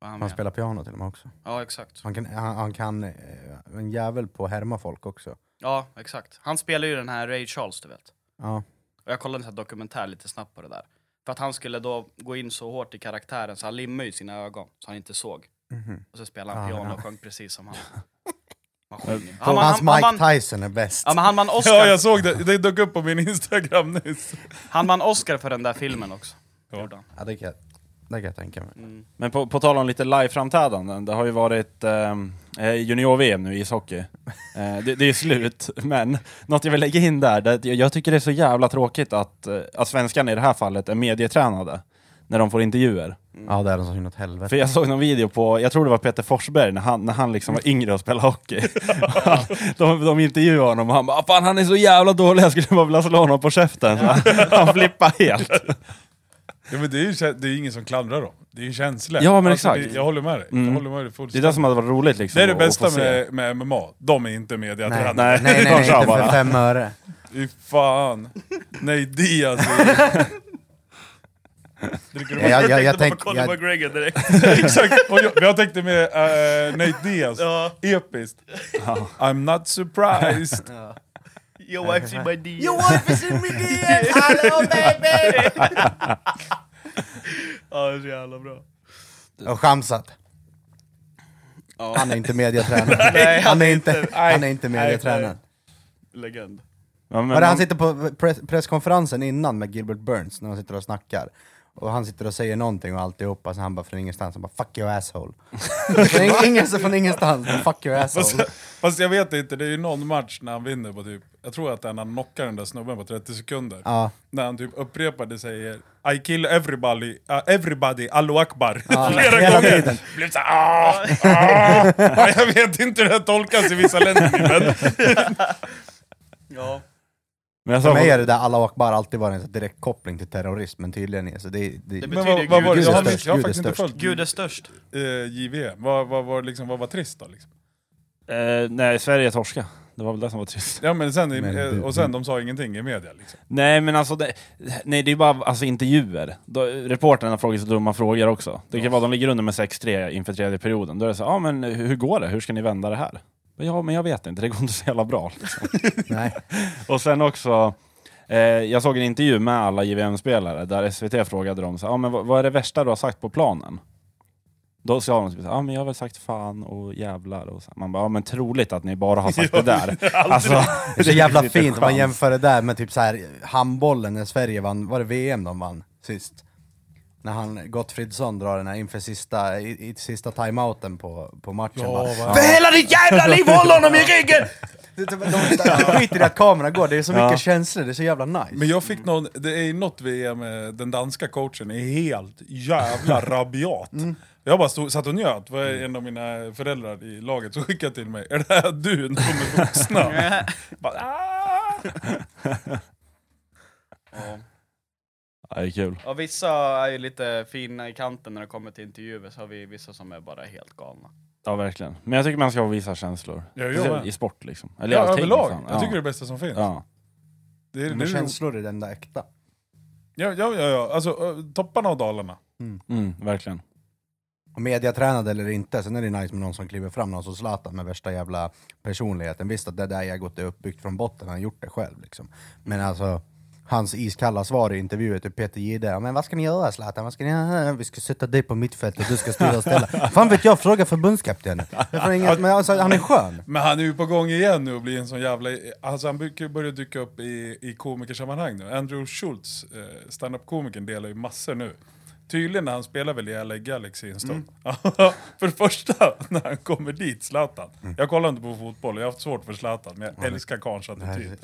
B: Vad han
C: Han
B: med.
C: spelar piano till och med också.
B: Ja, exakt.
C: Han kan, han, han kan eh, en jävel på att härma folk också.
B: Ja, exakt. Han spelar ju den här Ray Charles, du vet.
C: Ja.
B: Och jag kollade en sån här dokumentär lite snabbt på det där. För att han skulle då gå in så hårt i karaktären så han limmade ju sina ögon så han inte såg.
C: Mhm.
B: Och så spelade han
C: Ah,
B: piano
C: ja.
B: och sjöng precis
C: *laughs*
B: som han. Man sjunger. ju. Han,
C: Hans
B: han, han, han,
C: Mike
B: han,
C: Tyson är bäst.
B: ja, men han, vann
D: Ja, jag
B: Oscar,
D: såg det. Det dök upp på min Instagram nyss.
B: han vann Oscar för den där filmen också. Gjorde han.
C: Ja, det, kan jag, det kan jag tänka mig.
A: Men på, på tal om lite live-framträdanden, det har ju varit ehm, eh, junior-VM nu i ishockey. Eh, det, det är slut, *laughs* men något jag vill lägga in där, det, jag- jag tycker det är så jävla tråkigt att, eh, att svenskarna i det här fallet är medietränade när de får intervjuer.
C: Ja, det är den som inåt helvete.
A: För jag såg någon video på, jag tror det var Peter Forsberg, när han, när han liksom var yngre och spelade hockey. *laughs* Han- de, de intervjuade honom och han bara ”Fan han är så jävla dålig, jag skulle bara vilja slå honom på käften”. Så *laughs* han, han flippade helt.
D: Ja, men det, är ju, kä- det är ju ingen som klandrar dem. Det är ju en känsla. Alltså,
A: Ja, men
D: Det,
A: exakt.
D: jag håller med dig. Jag
A: Mm.
D: håller med dig
A: Det är
D: fullständigt.
A: det som hade varit roligt liksom.
D: Det är det
A: att- att
D: bästa
A: få se.
D: med, med MMA, de är inte
C: Nej, nej,
D: mediatränade.
C: nej, nej,
A: Nej, *laughs* de kör
C: inte för
A: bara.
C: fem öre.
D: Fy fan. Nej, Diaz. är- Dricker du-
C: Jag, jag, jag, jag, tänk,
B: på Conor
C: jag,
B: McGregor direkt.
D: Exakt, och jag, jag tänkte med uh, Nate Diaz.
B: Ja.
D: Episkt. I'm not surprised.
B: Your wife's in my DM.
E: wife is in my DM. Hello, baby.
B: *laughs* Ja, det är så jävla bra.
C: och Shamsat.
B: Ja.
C: Han är inte mediatränad. *laughs* han, är inte, han är inte mediatränad.
B: Legend.
A: Ja, men-
C: Var det han sitter på press, presskonferensen innan med Gilbert Burns, när de sitter och snackar. Och han sitter och säger någonting och alltihopa, så han bara från ingenstans, han bara 'fuck your *laughs* asshole' från, ing- ingen, från ingenstans, bara, 'fuck your asshole'
D: Alltså, Fast jag vet inte, det är ju någon match när han vinner på typ, jag tror att han han knockar den där snubben på 30 sekunder.
C: Ja.
D: När han typ upprepade säger I kill everybody, uh, everybody, allahu akbar. *laughs* Flera
C: hela
D: gånger.
C: tiden.
D: Blev så här, ah, ah. Ja, Jag vet inte hur det här tolkas i vissa länder. Men
B: Ja.
A: Men jag sa-
C: För mig är det där Allah Akbar alltid varit en sån direkt koppling till terrorism, men tydligen är så det, det,
B: Det
D: Men
B: betyder
D: vad, vad var det?
B: Gud
D: Jag
B: är
D: har,
C: störst,
D: jag har
C: Gud är
D: faktiskt inte
C: störst.
D: följt
B: Gud är störst.
D: eh, JVM. Vad, vad, vad, liksom, vad var trist då? Liksom?
A: Eh, nej, Sverige torska. Det var väl det som var trist.
D: Ja, men sen, i-
C: Men
D: eh,
C: du-
D: och sen de sa ingenting i media. Liksom.
A: Nej, men alltså det, nej, det är bara alltså, intervjuer. Då, reporterna frågar så dumma frågor också. Det kan vara de ligger under med 6-3 inför tredje perioden. Då är det så ja ah, men hur hur går det? Hur ska ni vända det
D: *laughs*
A: här? Ja, men jag vet inte. Det går inte så jävla bra.
C: Nej.
A: Och sen också, eh, Eh, jag såg en intervju med alla JVM-spelare där SVT frågade dem så, här, ah, men vad, vad är det värsta du har sagt på planen? Då sa de typ så här, ah, men jag har väl sagt fan och jävlar och så. här. Man bara, ah, men troligt att ni bara har sagt det där. Alltså,
C: Det är så jävla fint om man
A: chans.
C: jämför det där med typ så här handbollen när Sverige vann, var det VM de vann sist? När han Gottfridsson drar den här inför sista, i, i sista timeouten på, på matchen.
D: Ja,
C: bara,
D: vad-
C: För hela ditt jävla liv håll honom i ryggen! Det är typ- De skiter i att kameran går, det är så mycket känslor, det är så jävla nice.
D: Men jag fick någon, det är ju något VM, eh, den danska coachen är helt jävla rabiat. Jag bara stod, satt och njöt, var en av mina föräldrar i laget som skickade till mig, *laughs* är det här du när de är vuxna?
B: *laughs*
D: bara, "Ah."
B: Ja.
A: *laughs* Ja, det är kul.
B: Och vissa är ju lite fina i kanten när det kommer till intervjuer, så har vi vissa som är bara helt galna.
A: Ja, verkligen. Men jag tycker man ska visa känslor.
D: Ja, jag med.
A: I sport liksom. Eller
D: ja,
A: i allting,
D: överlag,
A: fan.
D: jag tycker det är det bästa som finns.
A: Ja.
D: Det är, det
C: Men
D: är,
C: känslor är den där äkta.
D: ja, ja, ja, ja, alltså ö, topparna och dalarna.
A: Ja. Mm, verkligen.
C: Mediatränad eller inte, sen är det nice med någon som kliver fram, någon som Zlatan med värsta jävla personligheten. Visst att det där egot är uppbyggt från botten, han har gjort det själv liksom. Men alltså, hans iskalla svar i intervjuer till Peter Jihde, "Ja, men vad ska ni göra Zlatan? Vad ska ni göra? Vi ska sätta dig på mittfältet och du ska styra och
D: *laughs*
C: ställa. Fan vet jag, fråga förbundskaptenen. Jag får inget- Men alltså, han är skön.
D: Men han är ju på gång igen nu och blir en sån jävla... Alltså han brukar ju börja dyka upp i, i komikersammanhang nu. Andrew Schultz, eh, standup-komikern, delar ju massor nu. Tydligen när han spelar väl i LA Galaxy en stund.
C: Mm.
D: *laughs* för det första, *laughs* när han kommer dit, Zlatan. Jag kollar inte på fotboll, jag har haft svårt för Zlatan, men jag älskar karlns attityd.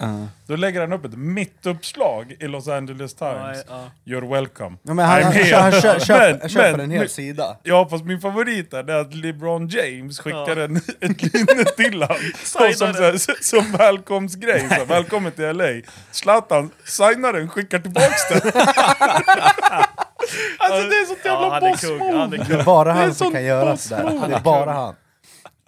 D: Då lägger han upp ett mittuppslag i Los Angeles Times.
B: ja.
D: You're welcome.
C: Ja, men han,
D: I'm
C: han,
D: here.
C: han,
D: *laughs*
C: kö- köper,
D: Men-
C: köper
D: men-
C: en hel
D: men-
C: sida.
D: Ja, fast min favorit är det att LeBron James skickar en, ett linne
B: *laughs*
D: till han. som, som, så här, som välkomstgrej. Så, här, välkommen till LA. Zlatan signar den, skickar
B: *laughs*
D: tillbaks den. alltså det är sånt
B: Ja,
D: jävla
B: han är
D: boss
B: kung,
D: move.
B: han är
C: Det
B: kung.
C: är bara
D: Det är
C: han som
D: sån
C: kan göra
D: bossmove.
C: sådär. Det är bara han.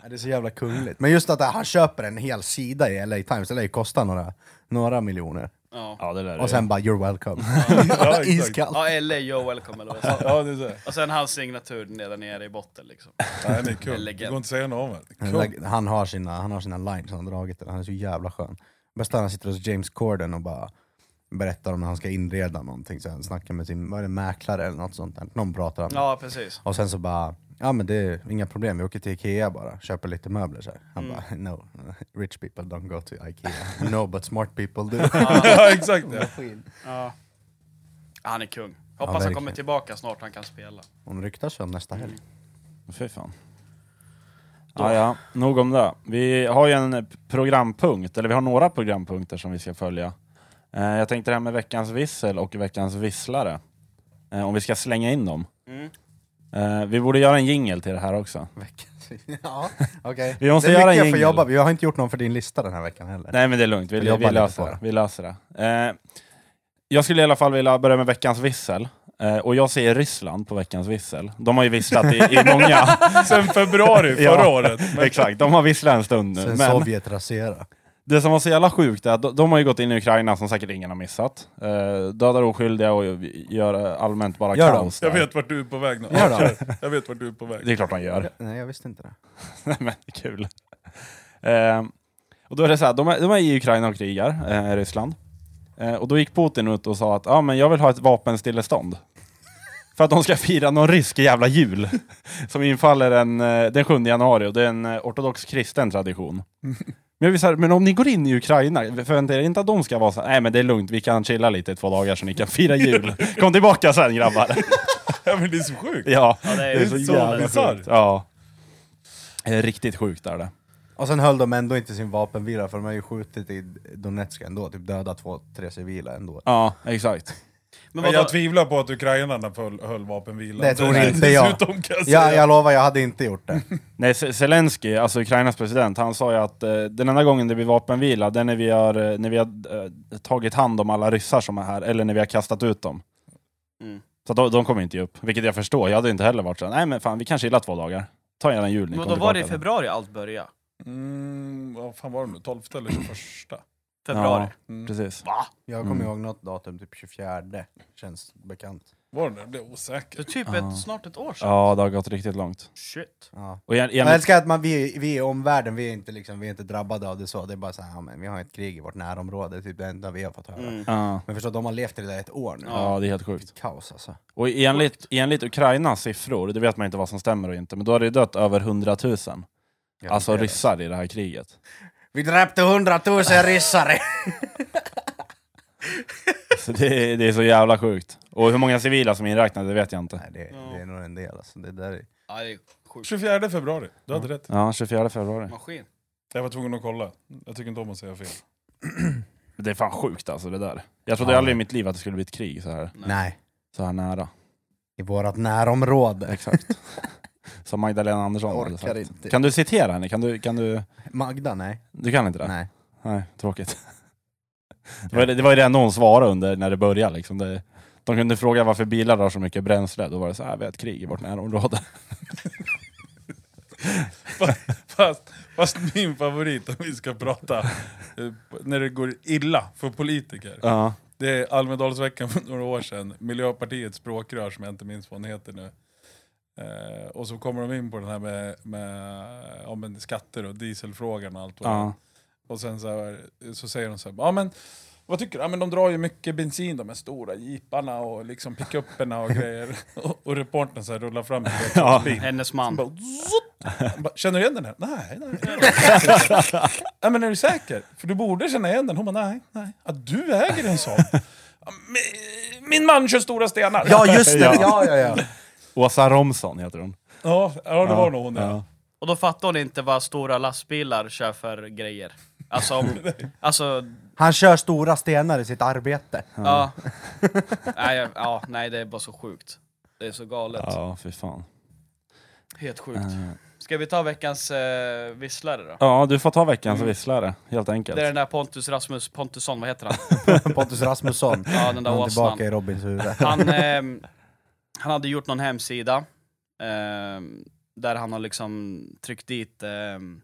C: Ja, Det är så jävla kungligt. Men just att han köper en hel sida i LA Times, det lär ju kosta några, några miljoner.
B: Ja.
A: Ja, det där är-
C: Och sen bara “You're welcome”. *laughs*
D: Ja, exakt.
C: Iskallt.
B: Ja, eller you're welcome eller vad jag sa.
D: Ja, det är så.
B: Och sen hans signatur där nere i botten liksom.
D: Nej, han är
B: Det är
D: kung. Det
B: legend.
D: går inte att säga något om
C: Den
D: det.
C: där- Han har sina, han har sina lines han har dragit, där. han är så jävla skön. Bästa är han sitter hos James Corden och bara berättar om när han ska inreda någonting, så han snackar med sin vad är det, mäklare eller något sånt där. Någon pratar om
B: Ja, precis.
C: Och sen så bara, ja men det är inga problem, vi åker till Ikea bara, köper lite möbler så här. Han bara, no, *laughs* rich people don't go to Ikea. no, but smart people *laughs* do.
D: *laughs* Ja, exakt. Ja.
B: Ja. Han är kung. Hoppas han
C: verkligen.
B: kommer tillbaka snart, han kan spela.
C: Hon ryktas om nästa helg.
A: Fy fan. Ja, ja, nog om det. Vi har ju en programpunkt, eller vi har några programpunkter som vi ska följa. Eh, jag tänkte det här med veckans vissel och veckans visslare. Eh, om vi ska slänga in dem.
B: Mm.
A: Eh, vi borde göra en jingle till det här också.
C: *laughs* ja, okej.
A: Vi måste
C: det är
A: göra en
C: mycket jag får
A: jingle.
C: jobba med. Jag har inte gjort någon för din lista den här veckan heller.
A: Nej men det är lugnt, vi,
C: Jag
A: vi,
C: jobbar lite
A: löser,
C: på
A: det. vi löser det. Eh, jag skulle i alla fall vilja börja med veckans vissel. Eh, och jag säger Ryssland på veckans vissel. De har ju visslat i, i många...
C: *laughs*
A: *laughs*
D: Sen februari förra
A: Ja.
D: året.
A: Exakt, de har visslat en stund nu.
C: Sen
A: Men
C: Sovjet rasera.
A: det som var så jävla sjukt är att de, de har ju gått in i Ukraina som säkert ingen har missat. Eh, dödar oskyldiga och gör eh, allmänt bara
C: Gör de?
A: kaos.
D: Jag
A: där.
D: vet vart du är på väg nu.
C: Gör det.
D: Ja, kör. *laughs* Jag vet vart du är på väg.
A: Det är klart de gör.
C: Nej, jag visste inte det.
A: Nej, *laughs* men det är kul. Eh, och då är det så här, de är, de är i Ukraina och krigar, eh, Ryssland. Eh, och då gick Putin ut och sa att ah, men jag vill ha ett vapenstillestånd. För att de ska fira någon rysk jävla jul *laughs* som infaller en, eh, den 7 januari och det är en eh, ortodox kristen
B: *laughs*
A: tradition. Men, jag vill så här, men om ni går in i Ukraina, förväntar er inte att de ska vara så här, nej men det är lugnt, vi kan chilla lite i två dagar så ni kan fira
B: *laughs*
A: jul. Kom tillbaka sen grabbar.
D: Ja, men det är så sjukt.
A: Ja,
B: Ja, det är
D: Det är så
B: så
D: jävla
B: lätt.
D: bizarrt.
A: ja. Det är Riktigt sjukt är det.
C: Och sen höll de ändå inte sin vapenvila för de har ju skjutit i Donetsk ändå, typ dödat två, tre civila ändå.
A: Ja, exakt.
B: Men
D: Men jag
B: vadå?
D: tvivlar på att ukrainarna höll, höll vapenvilan.
C: Det
D: *laughs*
C: tror inte jag.
D: Dessutom kan jag
C: Ja,
D: säga.
C: jag lovar, jag hade inte gjort *laughs* det.
A: Nej, Z- Zelensky, alltså Ukrainas president, han sa ju att eh, den enda gången det blir vapenvila, det är när vi har, eh, när vi har eh, tagit hand om alla ryssar som är här, eller när vi har kastat ut dem.
B: Mm.
A: Så att de, de kommer inte ge upp, vilket jag förstår. Jag hade inte heller varit så här, nej men fan vi kan chilla två dagar. Ta gärna en jul, ni
B: Men
A: kommer
B: då var det i
A: tillbaka."
B: februari allt började?
D: Mm, vad fan var det nu? 12 eller 21?
B: Februari? Mm.
A: Precis.
C: Jag kommer
A: Mm.
C: ihåg något datum, typ 24, känns bekant.
D: Var det det? Jag blev osäker.
B: För typ
A: Ja.
B: ett, snart ett år sedan.
A: Ja, det har gått riktigt långt.
B: Shit.
C: Ja.
A: Och en, en,
C: Jag älskar att man, vi, vi i omvärlden, vi är, inte liksom, vi är inte drabbade av det så. Det är bara så här, ja, men vi har ett krig i vårt närområde, det är typ det enda vi har fått höra.
A: ja,
C: Men förstå, de har levt i det där ett år nu.
A: ja, det är helt sjukt.
C: Kaos alltså.
A: Och enligt, enligt Ukrainas siffror, det vet man inte vad som stämmer och inte, men då har det ju dött över 100 000
C: Jag
A: alltså
C: vet det.
A: ryssar i det här kriget.
C: Vi dräpte *laughs* hundratusen ryssare!
A: Så Alltså, det, är- det är så jävla sjukt. Och hur många civila som är inräknade, det vet jag inte.
C: Nej, det, det är nog en del alltså. Det där är...
B: Ja, det är sjukt.
D: 24 februari, du hade rätt.
A: Ja, 24 februari.
B: Maskin.
D: Jag var tvungen att kolla. Jag tycker inte om att säga fel. *laughs*
A: Det är fan sjukt alltså det där. Jag trodde
C: Ja.
A: aldrig i mitt liv att det skulle bli ett krig så här,
B: Nej.
C: Nej,
A: så här nära.
C: i vårt närområde.
A: Exakt. *laughs* Som Magdalena Andersson
C: Jag
A: hade
C: orkar
A: sagt.
C: inte.
A: Kan du citera henne? Kan du, kan du...
C: Magda, nej.
A: Du kan inte det?
C: nej.
A: Nej, tråkigt. *laughs* Det var, det var ju det enda hon svarade under när det började. Liksom. Det, de kunde fråga varför bilar drar så mycket bränsle, då var det så här, vi har ett krig i vårt närområde.
D: Fast, fast min favorit, om vi ska prata, eh, när det går illa för politiker.
A: Ja.
D: Det är Almedalsveckan för några år sedan, Miljöpartiets språkrör som jag inte minns vad hon heter nu. Eh, och så kommer de in på den här med, med ja, men skatter och dieselfrågan och allt vad det är.
A: *laughs* Ja.
D: Och sen så, här, så säger de så här, ja men vad tycker du? Ja, men de drar ju mycket bensin de här stora jeeparna och liksom pickupperna och grejer. *laughs* och, och reportern så här rullar fram en
A: Ja.
D: bil.
B: Hennes
D: Han
B: man.
D: bara, zzutt. Han bara, känner du igen den här? Nej, nej. nej. *laughs* ja, men är du säker? För du borde känna igen den. Hon bara, nej, nej. Ja, du äger en sån. *laughs* "Ja, mi- Min man kör stora stenar.
C: Ja, just det!
A: Ja.
C: *laughs* ja. Ja, ja,
A: Åsa Romson heter hon.
D: *laughs* ja, ja det var nog hon. Ja.
A: Ja.
B: Och då fattar hon inte vad stora lastbilar kör för grejer.
A: *laughs*
B: Alltså, om, alltså
C: Han kör stora stenar i sitt arbete.
B: ja. Nej, jag- ja. Nej, det är bara så sjukt. Det är så galet.
A: Ja, fy fan.
B: Helt sjukt.
A: Eh,
B: Ska vi ta veckans eh, visslare då?
A: Ja, du får ta veckans visslare, helt enkelt.
B: Mm. Det är den där Pontus Rasmus Pontusson, vad heter han?
C: Pontus Rasmusson.
B: Ja, den
C: Han
B: där
C: är
B: åsnan.
C: tillbaka i Robins huvud.
A: *laughs*
B: Han, ehm, han hade gjort någon hemsida ehm, där han har liksom tryckt dit ehm,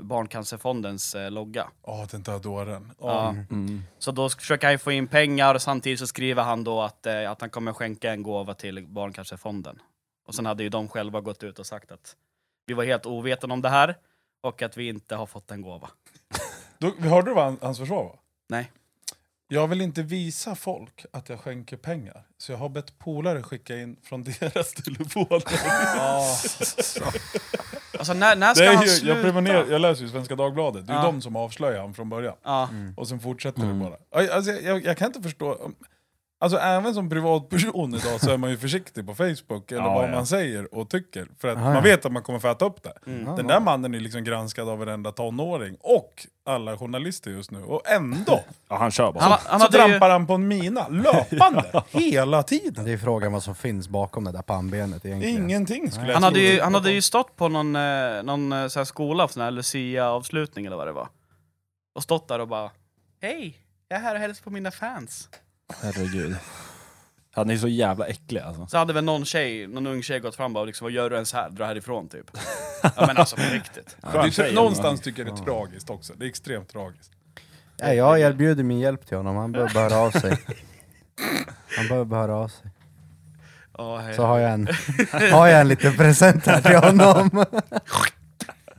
B: Barncancerfondens eh, logga.
D: Åh, den där dåren. Åh.
B: Ja.
A: Mm.
B: Så då sk- försöker han ju få in pengar och samtidigt så skriver han då att, eh, att han kommer skänka en gåva till Barncancerfonden. Och sen hade ju de själva gått ut och sagt att vi var helt ovetande om det här och att vi inte har fått en gåva.
D: Då, hörde du vad han- hans försvar var?
B: Nej.
D: Jag vill inte visa folk att jag skänker pengar, så jag har bett polare skicka in från *laughs* deras telefoner.
B: Alltså när, när
D: Det
B: ska han
D: är ju,
B: sluta?
D: jag, prenumererar- jag läser ju Svenska Dagbladet, det är
B: Ja.
D: de som avslöjar honom från början.
B: Ja.
D: Och sen fortsätter det bara. Aj, Alltså, jag- jag, jag kan inte förstå. Alltså även som privatperson idag så är man ju försiktig på Facebook eller
A: Ja,
D: vad
A: ja.
D: man säger och tycker. För att
C: ja.
D: man vet att man kommer få äta upp det. Den där mannen är liksom granskad av varenda tonåring och alla journalister just nu. Och ändå
A: Ja, han kör bara.
B: Han, han
D: så
B: hade ju-
D: trampar han på en
B: *laughs*
D: mina löpande hela tiden.
C: Det är frågan vad som finns bakom det där pannbenet egentligen.
D: Ingenting skulle jag
B: Han hade,
D: tro.
B: ju, han hade ju stått på någon, eh, någon eh, så här skola, sån här Lucia-avslutning eller vad det var. Och stått där och bara Hej, jag är här och hälsar på mina fans.
A: Herregud. Han är så jävla äcklig alltså.
B: Så hade väl någon tjej, någon ung tjej gått fram och bara liksom, vad gör du ens här? Dra härifrån typ. ja men alltså på riktigt.
D: Det är-
A: tjej,
D: Någonstans tycker jag det är tragiskt också. Det är extremt tragiskt.
C: Nej, jag erbjuder min hjälp till honom, han behöver bara höra av sig. Han behöver bara höra av sig.
B: Ja, hej.
C: Så har jag en, har jag en liten present här till honom.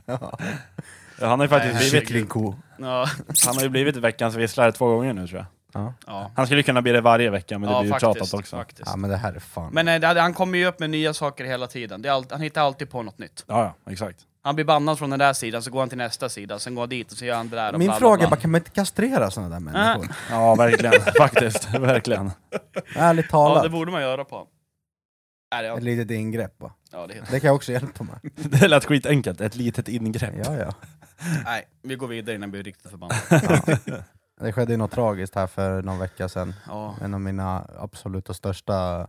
A: Ja, Han har ju faktiskt blivit,
C: Kycklingko.
B: ja,
A: han har ju blivit veckans visslare två gånger nu tror jag.
B: ja.
A: Han skulle kunna bli det varje vecka, men det
B: ja
A: blir ju
B: faktiskt.
A: tjatat också.
B: faktiskt.
C: Ja men det här är fan...
B: Men eh, det hade- han kommer ju upp med nya saker hela tiden. Det är allt- han hittar alltid på något nytt.
A: Ja, ja, exakt.
B: Han blir bannad från den där sidan, så går han till nästa sida, sen går han dit och så gör han det där. Och
C: Min
B: bla, bla,
C: fråga är
B: bla.
C: bara, kan man inte kastrera sådana där människor?
A: Ja, *laughs* verkligen. faktiskt. Verkligen.
C: Ärligt
B: Ja, det
C: talat,
B: borde man göra på. Nej, det,
C: ett litet ingrepp va?
B: ja, det är helt...
C: Det kan jag också hjälpa med.
A: Det lät skitenkelt. Ett litet ingrepp.
C: Ja, ja.
B: Nej, vi går vidare innan vi blir riktigt förbannade.
C: Det skedde ju något tragiskt här för någon vecka sedan.
B: Ja.
C: En av mina absoluta största...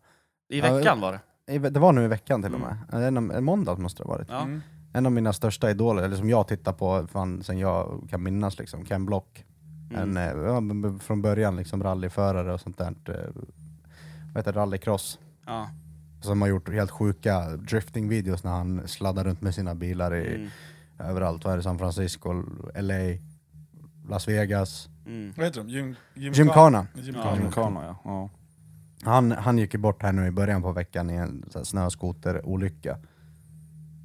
B: I veckan var det.
C: i ve- Det var nu i veckan till och med. En av, en måndag måste det ha varit.
B: Mm. Ja.
C: En av mina största idoler, eller som jag tittar på fan, sen jag kan minnas, liksom, Ken Block.
B: Mm.
C: En, eh, ja, men b- från början liksom rallyförare och sånt där. eh, Vad heter det? Rallycross.
B: Ja.
C: Som har gjort helt sjuka drifting-videos när han sladdar runt med sina bilar i,
B: Mm.
C: överallt. Vad är det? San Francisco, LA, Las Vegas,
B: Mm.
D: Vad heter de? Gym, gymkan-
C: Gymkhana.
D: Gymkan.
A: Amerikaner, ja. ja.
C: Han, han gick ju bort här nu i början på veckan i en så här snöskoterolycka.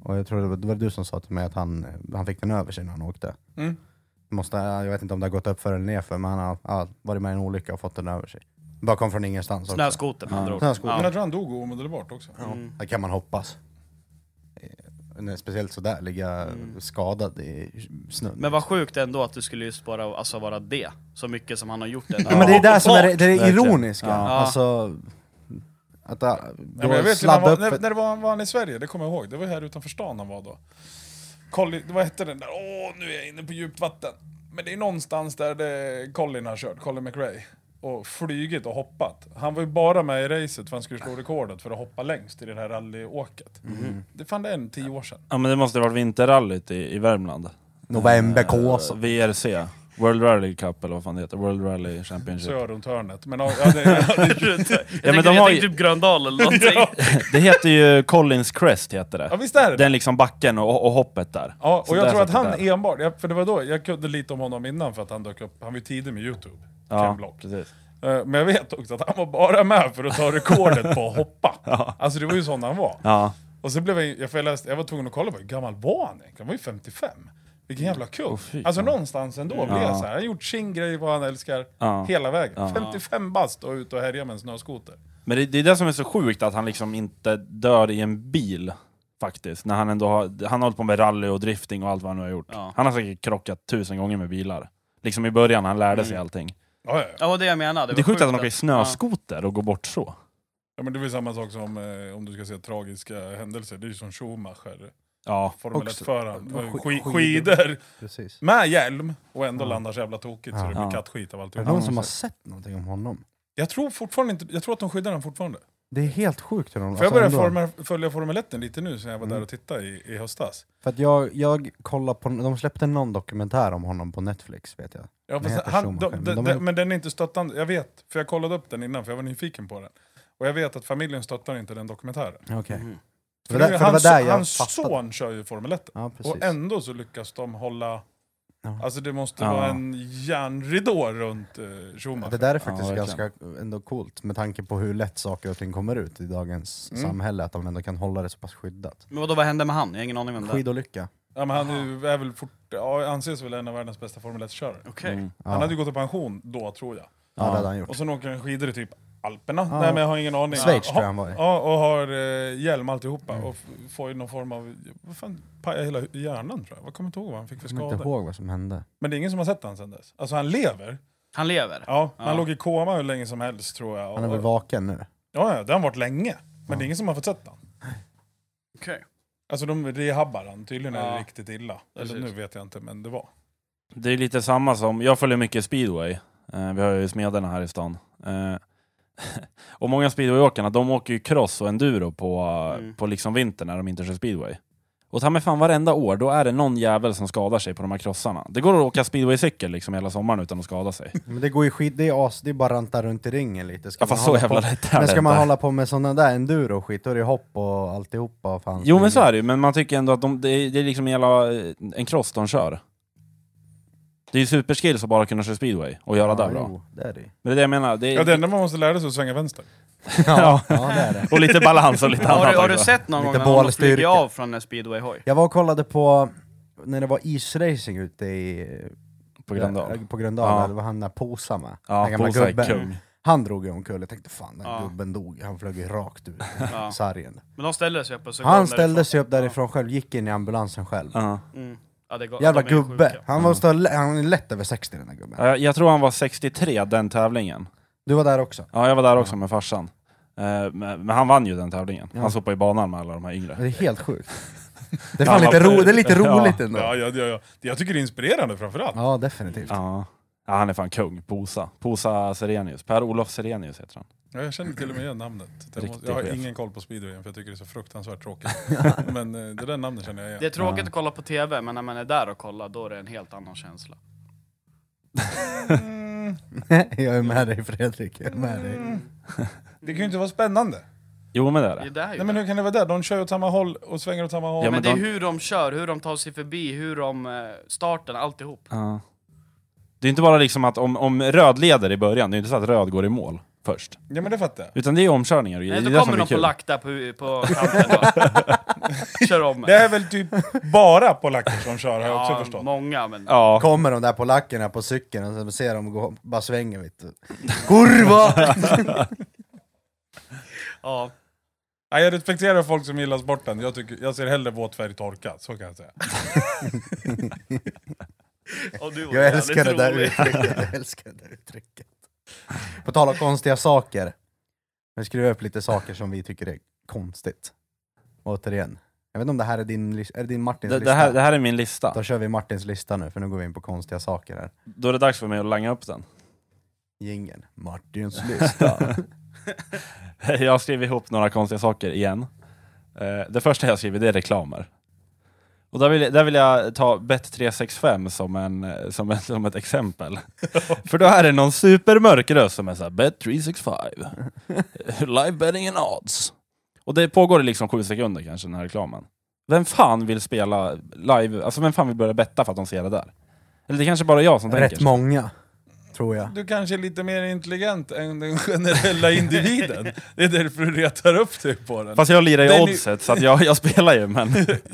C: Och jag tror det var, det var du som sa till mig att han, han fick den över sig när han åkte.
D: Mm.
C: Måste, jag vet inte om det har gått upp för eller ner för, men han har ja, varit med i en olycka och fått den över sig. Bara kom från ingenstans också.
B: Snöskoter med andra ord.
C: Snöskoter.
D: Men
B: Ja.
D: jag tror han dog omedelbart också.
C: Det kan man hoppas. Eh, när- Speciellt sådär, ligga skadad i snön.
B: Men vad sjukt ändå att du skulle just bara alltså, vara det, så mycket som han har gjort ändå.
C: Ja, men det är det som är det, det, är det
A: Verkligen.
C: ironiska.
A: Ja.
C: Alltså, att äh,
D: Nej, men jag
C: då
D: vet ju när, han
C: sladda
D: var,
C: upp...
D: när,
C: Ett,
D: när det var, var han i Sverige, det kommer jag ihåg. Det var ju här utanför stan han var då. Colli, vad hette den där? Åh, nu är jag inne på djupt vatten. Men det är någonstans där det Colin har kört, Colin McRae. Och flugit och hoppat. Han var ju bara med i racet för han skulle slå rekordet för att hoppa längst i det här rallyåket.
A: Mm.
D: Det fann det en tio år sedan.
A: Ja men det måste ha varit vinterrallyt i, i Värmland.
C: november
A: Så
C: Kåsa.
A: VRC. World Rally Cup eller vad fan det heter. World Rally
D: Så
A: Championship.
D: jag runt hörnet. Men ja, ja, det,
A: *laughs*
D: ja,
B: *laughs*
D: det,
B: Jag tänkte,
A: men de
B: jag
A: har
B: tänkte
A: ju-
B: typ Gröndal eller någonting.
A: Det heter ju Collins Crest heter det.
D: ja visst är det
A: Den liksom backen och, och hoppet där.
D: Ja,
A: Så
D: och jag
A: där
D: tror att
A: satt
D: han
A: det där.
D: enbart, ja, för det var då, jag kunde lite om honom innan för att han dök upp, han var ju tidig med Youtube. Ken
A: Ja,
D: Block.
A: precis.
D: Eh, Men jag vet också att han var bara med för att ta rekordet på
A: *laughs*
D: att hoppa. Alltså det var ju sån han var.
A: Ja.
D: Och så blev jag, jag, för jag, läste, jag var tvungen att kolla på hur gammal var han egentligen? Han var ju 55. Vilken jävla kung.
A: fy
D: alltså någonstans ändå blev jag så här. han har gjort sin grej vad han älskar
A: Ja.
D: hela vägen. 55 bast och ut och härja med en snöskoter.
A: Men det, det är det som är så sjukt, att han liksom inte dör i en bil. Faktiskt. När han ändå har, han har hållit på med rally och drifting och allt vad han nu har gjort.
B: Ja.
A: Han har säkert krockat tusen gånger med bilar. Liksom i början, han lärde sig allting.
D: Ja, ja, ja.
B: Ja, det var det jag menade.
A: Det,
B: var
A: är sjukt att han åker i
B: Ja.
A: snöskoter och går bort så.
D: ja men det är väl samma sak som eh, om du ska se tragiska händelser. Det är ju som Schumacher,
A: Ja.
D: Formel
A: Också.
D: 1-föraren.
C: Ja, sk-
D: Sk-
C: skidor.
D: skidor
C: Precis.
D: med hjälm och ändå landar så jävla tokigt så det blir
A: Ja.
D: kattskit av
C: Är det
D: alltihop.
C: någon som har sett någonting om honom?
D: Jag tror fortfarande inte, jag tror att de skyddar den fortfarande.
C: Det är helt sjukt hur de... alltså,
D: För jag börjar
C: ändå.
D: forma- följa Formel 1 lite nu sen jag var
C: Mm.
D: där och tittade i, i höstas.
C: För att jag, jag kollar på... De släppte någon dokumentär om honom på Netflix, vet jag.
D: Ja,
C: Den
D: fast
C: heter
D: han,
C: Schumacher,
D: de,
C: men
D: de,
C: de
D: de-
C: har-
D: men den är inte stöttande, jag vet. För jag kollade upp den innan för jag var nyfiken på den. Och jag vet att familjen stöttar inte den dokumentären.
C: Okej.
B: Mhm.
C: För,
D: nu-
C: där, för det var
D: hans
C: där jag
D: hans
C: fattade.
D: son kör ju Formel 1.
C: Ja,
D: Och
C: precis.
D: ändå så lyckas de hålla...
C: Ja.
D: Alltså det måste
A: Ja.
D: vara en järnridå runt eh, Schumacher.
C: Det där är faktiskt
A: Ja, verkligen.
C: ganska ändå coolt med tanke på hur lätt saker och ting kommer ut i dagens
D: Mm.
C: samhälle, att de ändå kan hålla det så pass skyddat.
B: Men vadå, vad hände med han? Jag har ingen aning om det.
C: Skidolycka.
D: Ja, men han är, ju- är väl fort, ja, anses väl en av världens bästa Formel 1-körare.
B: Okej.
A: Mm.
C: Ja.
D: Han hade ju gått i pension då tror jag.
C: Ja, det hade han
D: Och
C: gjort.
D: sen åker han skidor i typ Alperna.
C: Ja.
D: Nej men jag har ingen aning.
C: Schweiz
D: Ja,
C: tror jag Mm. han var i.
D: Ja, och har eh, hjälm alltihopa och f- får ju någon form av... Vad fan, pajade hela hu- hjärnan tror jag. Jag kommer inte ihåg vad han fick för
C: Jag kommer inte
D: skador.
C: ihåg vad som hände.
D: Men det är ingen som har sett han sen dess. Alltså han lever.
B: Han lever?
D: Ja, han
B: Ja.
D: låg i koma hur länge som helst tror jag.
C: Han är
D: Och-
C: väl vaken nu?
D: ja, ja, det har han varit länge. Men det är ingen som har fått sett han.
B: Okej.
A: *laughs*
D: Alltså de rehabbar han, tydligen är det
B: Ja.
D: riktigt illa. Eller
B: Precis.
D: nu vet jag inte, men det var.
A: Det är lite samma som, jag följer mycket speedway. Eh, vi har ju Smederna här i stan. Eh, *laughs* och många speedwayåkarna, de åker ju cross och enduro på,
B: Mm.
A: på liksom vintern när de inte kör speedway. Och ta mig fan varenda år, då är det någon jävel som skadar sig på de här krossarna. Det går att åka speedwaycykel liksom hela sommaren utan att skada sig.
C: Men det går ju skid, det är, as, det är bara ranta runt i ringen lite. Ska
A: Ja, fast
C: man
A: så
C: hålla
A: jävla
C: på,
A: lätt är
C: men
A: det
C: ska man
A: inte.
C: hålla på med sådana där enduro och skit, då är det hopp och alltihopa. och Fan,
A: Jo men så är det ju, men man tycker ändå att de, det, är, det är liksom en jävla, eh, en cross de kör. Det är ju superskills att bara kunna köra speedway och göra det bra.
C: Jo, det är det ju.
A: Men det är det jag menar. Det är,
D: Ja, det enda man måste lära sig är att svänga vänster.
C: ja, ja, det är det.
A: Och lite balans och lite annat
B: Har, du, har du
A: också.
B: sett någon
C: Lite
B: gång när någon har flugit
C: bålstyrka.
B: av från en speedwayhoj?
C: Jag var och kollade på när det var isracing ute i eh,
A: På Gröndal.
C: På Gröndal,
A: Ja.
C: där det var han där Posa med.
A: Ja,
C: den gamla
A: Posa är
C: gubben.
A: kung.
C: Han drog ju omkull, jag tänkte fan den
B: Ja.
C: gubben dog, han flög ju rakt ut
B: *laughs* Ja.
C: i sargen.
B: Men de ställde sig upp och så
C: Han
B: kom
C: ställde
B: därifrån.
C: sig upp därifrån själv, gick in i ambulansen själv.
A: Ja.
B: Mm. Ja, det går,
C: Jävla
B: de är ju
C: gubbe!
B: sjuka.
C: Han, var stå, han är lätt över 60 den där gubben.
A: Ja, Jag, jag tror han var 63 den tävlingen.
C: Du var där också.
A: Ja, jag var där också med farsan. Eh, Men, men han vann ju den tävlingen. Han sopade i banan med alla de här yngre.
C: Det är helt sjukt.
A: *laughs*
C: Det är, fan
A: Ja,
C: lite,
A: man-
C: ro, det är lite
A: Ja.
C: roligt ändå. Ja,
D: Ja, ja, ja, ja. Jag tycker det är inspirerande framförallt.
C: definitivt.
A: Ja. ja, han är fan kung. Posa. Posa Serenius. Per-Olof Serenius heter han.
D: Ja, jag känner till och med igen namnet. Jag,
A: Riktig
D: måste, jag har
A: chef.
D: ingen koll på speedwayen för jag tycker det är så fruktansvärt tråkigt.
A: *laughs*
D: Men eh, det där namnet känner jag
B: Det är
D: igen.
B: tråkigt att kolla på TV, men när man är där och kollar, då är det en helt annan känsla.
C: *laughs* jag är med dig Fredrik, jag är med dig.
D: Mm. Det kan ju inte vara spännande.
A: Jo, men det är
B: Det är
A: det.
B: det här ju.
D: Nej men hur kan det vara det? De kör åt samma håll och svänger åt samma håll.
A: Ja,
B: men,
A: men
B: det är
A: de-
B: hur de kör, hur de tar sig förbi, hur de... eh, Starten, alltihop.
A: Ja. Det är inte bara liksom att om, om röd leder i början, det är ju inte så att röd går i mål. först.
D: Ja men det fattar jag.
A: Utan det är omkörningar och
B: Nej,
A: det är
B: då
A: det som
B: kommer
A: är
B: någon
A: kul.
B: polack där på, på kanten
A: *laughs*
B: och kör om
D: Det är väl typ bara polacker som kör har jag också
B: Ja,
D: förstått.
B: många men...
A: Ja.
C: Kommer de där polackerna på cykeln och så ser de gå, bara svänger vet du.
A: *laughs*
C: Kurva!
B: Ja.
D: Nej, jag respekterar folk som gillar sporten, jag, tycker, jag ser hellre våt färg torka, så kan jag säga.
B: Och du var
C: Jag
B: jävligt
C: älskar det där
B: rolig.
C: uttrycket, jag älskar det där uttrycket. På tal om konstiga saker. Nu skriver jag upp lite saker som vi tycker är konstigt. Återigen. Jag vet inte om det här är din, lis- är det din Martins
A: Det,
C: lista?
A: det, här, det här är min lista.
C: Då kör vi Martins lista nu, för nu går vi in på konstiga saker här.
A: Då är det dags för mig att langa upp den.
C: Jingeln.
A: *laughs*
C: Martins lista.
A: Jag har skrivit ihop några konstiga saker igen. Eh, Det första jag skriver det är reklamer. Och där vill, där vill jag ta Bet365 som, en, eh, som, en, som ett *laughs* exempel. För då är det någon supermörk röst som är såhär *laughs* Bet365, live betting and odds. Och det pågår i liksom sju sekunder kanske den här reklamen. Vem fan vill spela live, alltså vem fan vill börja betta för att de ser det där? Eller det är kanske bara jag som tänker.
C: Rätt
A: så.
C: många, tror jag.
D: Du kanske är lite mer intelligent än den generella individen. Det är därför du retar upp dig på den.
A: Fast jag lirar
D: Den
A: ju
D: är-
A: oddset så att jag, jag spelar ju *laughs* men...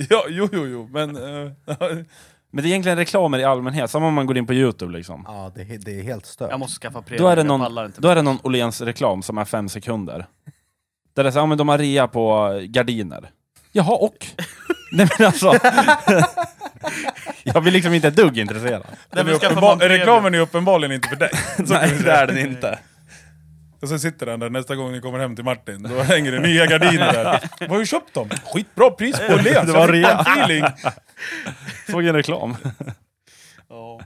D: Ja, jo, jo, jo, men... eh,
A: Men det är egentligen reklamer i allmänhet, samma om man går in på Youtube liksom.
C: Ja, det, är- det är helt stört.
B: Jag måste skaffa premium,
A: Då är det
B: jag pallar
A: någon,
B: inte.
A: då är det någon Åhléns reklam som är fem sekunder. Där det är så, ja men de har rea på eh, gardiner. Jaha, och? *laughs* Nej men alltså. *laughs* jag blir liksom inte ett dugg intresserad.
B: Nej, men
D: den är
B: skaffa
D: uppenbar-
B: man premium.
D: reklamen är uppenbarligen inte för dig.
A: *laughs* Nej, det är den inte.
D: Och så sitter den där nästa gång ni kommer hem till
A: *laughs*
D: Martin, då hänger det nya gardiner där. Vad har du köpt dem?
A: *laughs*
D: Skitbra pris på Åhléns!
A: Det var
D: Jag fick en feeling.
A: Såg en reklam.
B: Ja.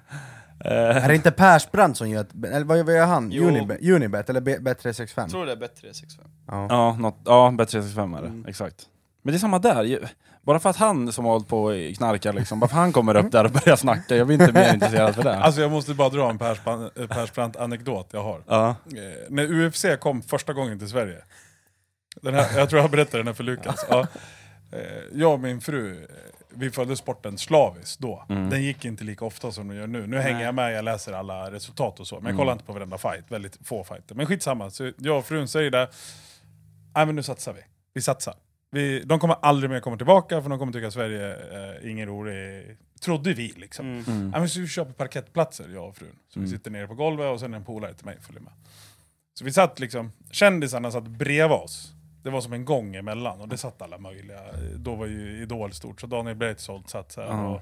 C: Är det inte Persbrandt som gör ett, eller vad vad gör han?
B: Jo.
C: Unibet, Unibet eller B- Bet365?
B: Tror du det är bättre 65?
C: Ja.
A: Ja, något, ja Bet365 är det, exakt. Men det är samma där. ju. Bara för att han som har hållit på och knarkar liksom, bara för han kommer upp där och börjar snacka, jag blir inte mer intresserad för det.
D: Alltså jag måste bara dra en Persbran- eh, Persbrandt-anekdot jag har.
A: Ja.
D: Eh, när UFC kom första gången till Sverige, den här, jag tror jag berättade den här för Lukas. Ja. Eh, Jag och min fru, eh, vi följde sporten slaviskt då. Den gick inte lika ofta som den gör nu. Nu hänger jag med, jag läser alla resultat och så. Men jag kollar inte på varenda fight, väldigt få fighter. Men skitsamma, så jag och frun säger det. Nej men nu satsar vi. Vi satsar. Vi, de kommer aldrig mer komma tillbaka för de kommer tycka att Sverige eh, ingen rolig... Trodde vi liksom.
A: Mm.
D: Ja, men så vi köper parkettplatser, jag och frun. Så vi sitter nere på golvet och sen är en polare till mig följer med. Så vi satt liksom, kändisarna satt bredvid oss. Det var som en gång emellan och det satt alla möjliga. Då var ju Idol stort, så Daniel Breitzold satt så här. Och,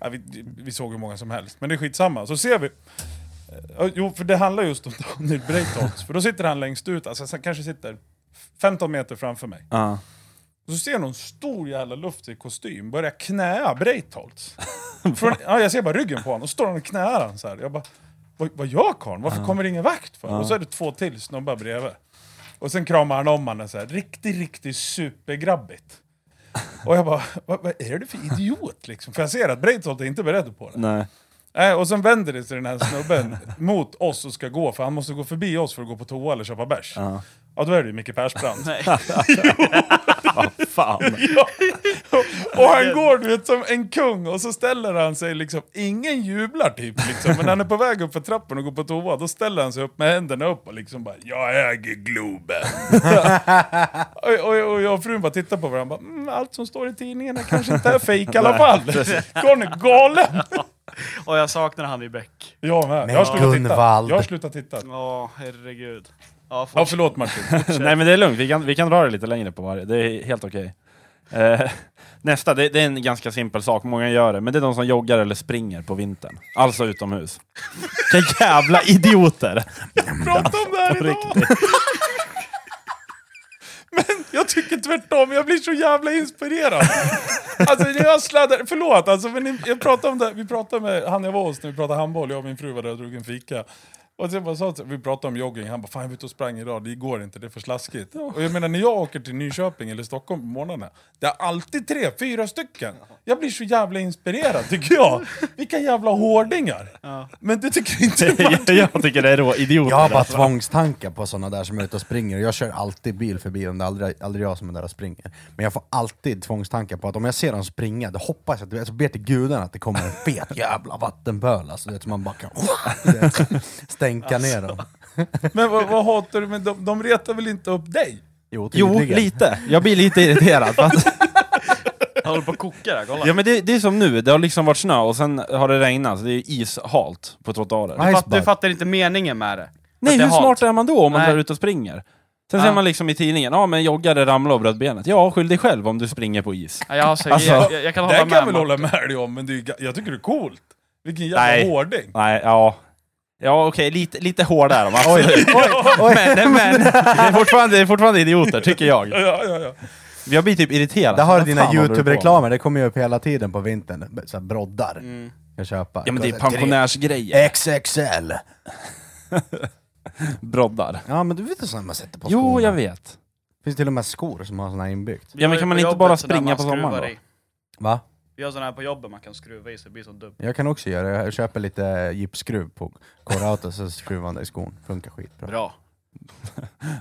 D: ja, vi, vi såg hur många som helst, men det är skitsamma. Så ser vi. Ja, Jo, för det handlar just om Daniel Breitholtz. För då sitter han längst ut, alltså han kanske sitter 15 meter framför mig.
A: Ja.
D: Och så ser jag någon stor jävla luftig kostym börja knäa *laughs* Breitholtz. Från, ja, jag ser bara ryggen på honom, och så står han och knäar han så här. Jag bara, vad, vad gör karln? Varför kommer det ingen vakt för? Och så är det två till snubbar bredvid. Och sen kramar han om honom så här, riktigt, riktigt supergrabbigt. Och jag bara, vad, vad är det för idiot liksom? För jag ser att Breitholtz är inte beredd på det.
A: Nej.
D: Nej, och sen vänder det sig den här snubben mot oss och ska gå, för han måste gå förbi oss för att gå på toa eller köpa bärs. Ja. då är det ju Micke Persbrandt.
B: Nej.
A: Fan.
D: Och han går du vet, som en kung och så ställer han sig liksom, ingen jublar typ liksom, men han är på väg upp för trappen och går på toa, då ställer han sig upp med händerna upp och liksom bara Jag
C: *laughs*
D: äger Globen! och, och, och jag och frun bara tittar på varandra bara, mm, allt som står i tidningarna kanske inte är fejk i alla
C: *laughs*
D: fall. Karln är galen!
B: Och jag saknar han i Beck.
D: Jag med,
C: Men
D: jag har slutat titta.
C: Gunvald.
D: Jag har slutat titta.
B: Ja, herregud. Ja,
D: Ja,
B: fortsätt.
D: förlåt Martin.
B: Typ.
A: Nej men det är lugnt, vi kan, vi kan dra det lite längre på varje, det är helt okej. Eh, *laughs* nästa, det, det är en ganska simpel sak, många gör det, men det är de som joggar eller springer på vintern. Alltså
B: *laughs*
A: utomhus. Vilka jävla idioter! *laughs*
D: prata om det här idag! *laughs* Men jag tycker tvärtom, jag blir så jävla inspirerad. Alltså när jag sladdar, förlåt alltså, men ni- jag pratade om det, vi pratade med han jag var hos när vi pratade handboll, jag och min fru var där och drog en fika. Och sen bara sa, så- vi pratade om jogging, han bara fan jag var ute och sprang idag, det går inte, det är för slaskigt. Och jag menar när jag åker till Nyköping eller Stockholm på morgnarna, det är alltid tre, fyra stycken. Jag blir så jävla inspirerad tycker jag. Vilka jävla hårdingar. Men det tycker inte man.
A: jag, jag tycker det är rå idioter.
C: Jag har bara
A: alltså.
C: tvångstankar på sådana där som är ute och springer, och jag kör alltid bil förbi dem, det är aldrig, aldrig jag som är där och springer. Men jag får alltid tvångstankar på att om jag ser dem springa, då hoppas jag, att, alltså ber till gudarna att
A: *laughs*
C: det kommer en fet jävla vattenpöl, alltså, du vet, så man bara kan du vet, stänka ner dem.
D: Men vad, vad hatar du med dem? De retar väl inte upp dig?
C: Jo,
A: Jo,
C: tydligen.
A: lite. Jag blir lite irriterad. För att,
B: Han håller på att koka där,
A: *laughs*
B: kolla.
A: ja, men det, det är som nu, det har liksom varit snö och sen har det regnat, så det är ishalt på trottoarer.
C: Nej,
B: Fatt, du
C: Iceberg.
B: fattar inte meningen med det.
A: Nej,
B: Att det
A: hur
B: är halt.
A: smart är man då om man
B: Nej.
A: drar ut och springer? Sen
B: Ja.
A: ser man liksom i tidningen, ja men joggare ramlar och bröt benet. Ja, skyll dig själv om du springer på is.
B: Ja, Jag, alltså,
A: Alltså,
B: jag, jag, jag kan hålla
D: Det kan
B: med.
D: jag väl
B: Martin.
D: hålla med dig om, men det är, ju ga- jag tycker det är coolt. Vilken jävla
A: Nej.
D: hårding.
A: Nej, ja. Ja okej, lite, lite hård är de absolut.
C: Oj.
A: Men, men det, är fortfarande, det är fortfarande idioter, tycker jag.
D: Ja, ja, ja, ja.
A: Jag blir typ irriterad.
C: Där har du
A: Vad
C: dina
A: fan håller på med? Mm.
C: Youtube-reklamer, det kommer ju upp hela tiden på vintern. Så här broddar. Kan köpa.
A: Ja men det är
C: Tre- Eh.
A: pensionärsgrejer.
C: XXL!
A: Broddar.
C: Ja men du vet ju sådana man sätter på
A: Jo,
C: skorna.
A: jag vet.
C: Finns till och med skor som har såna här inbyggt.
B: Vi
A: Ja,
B: har
A: men
B: ju
A: kan man
B: på
A: inte
B: jobbet
A: bara
B: sån där
A: springa
B: man
A: på sommaren
B: skruvar
A: då?
B: i.
C: Va?
B: Vi har sådana här på jobbet man kan skruva i så det blir som dubb.
C: Jag kan också göra det. Jag köper lite gipsskruv på K-Rauta så skruvar man det i skon. Funkar skitbra.
B: Bra.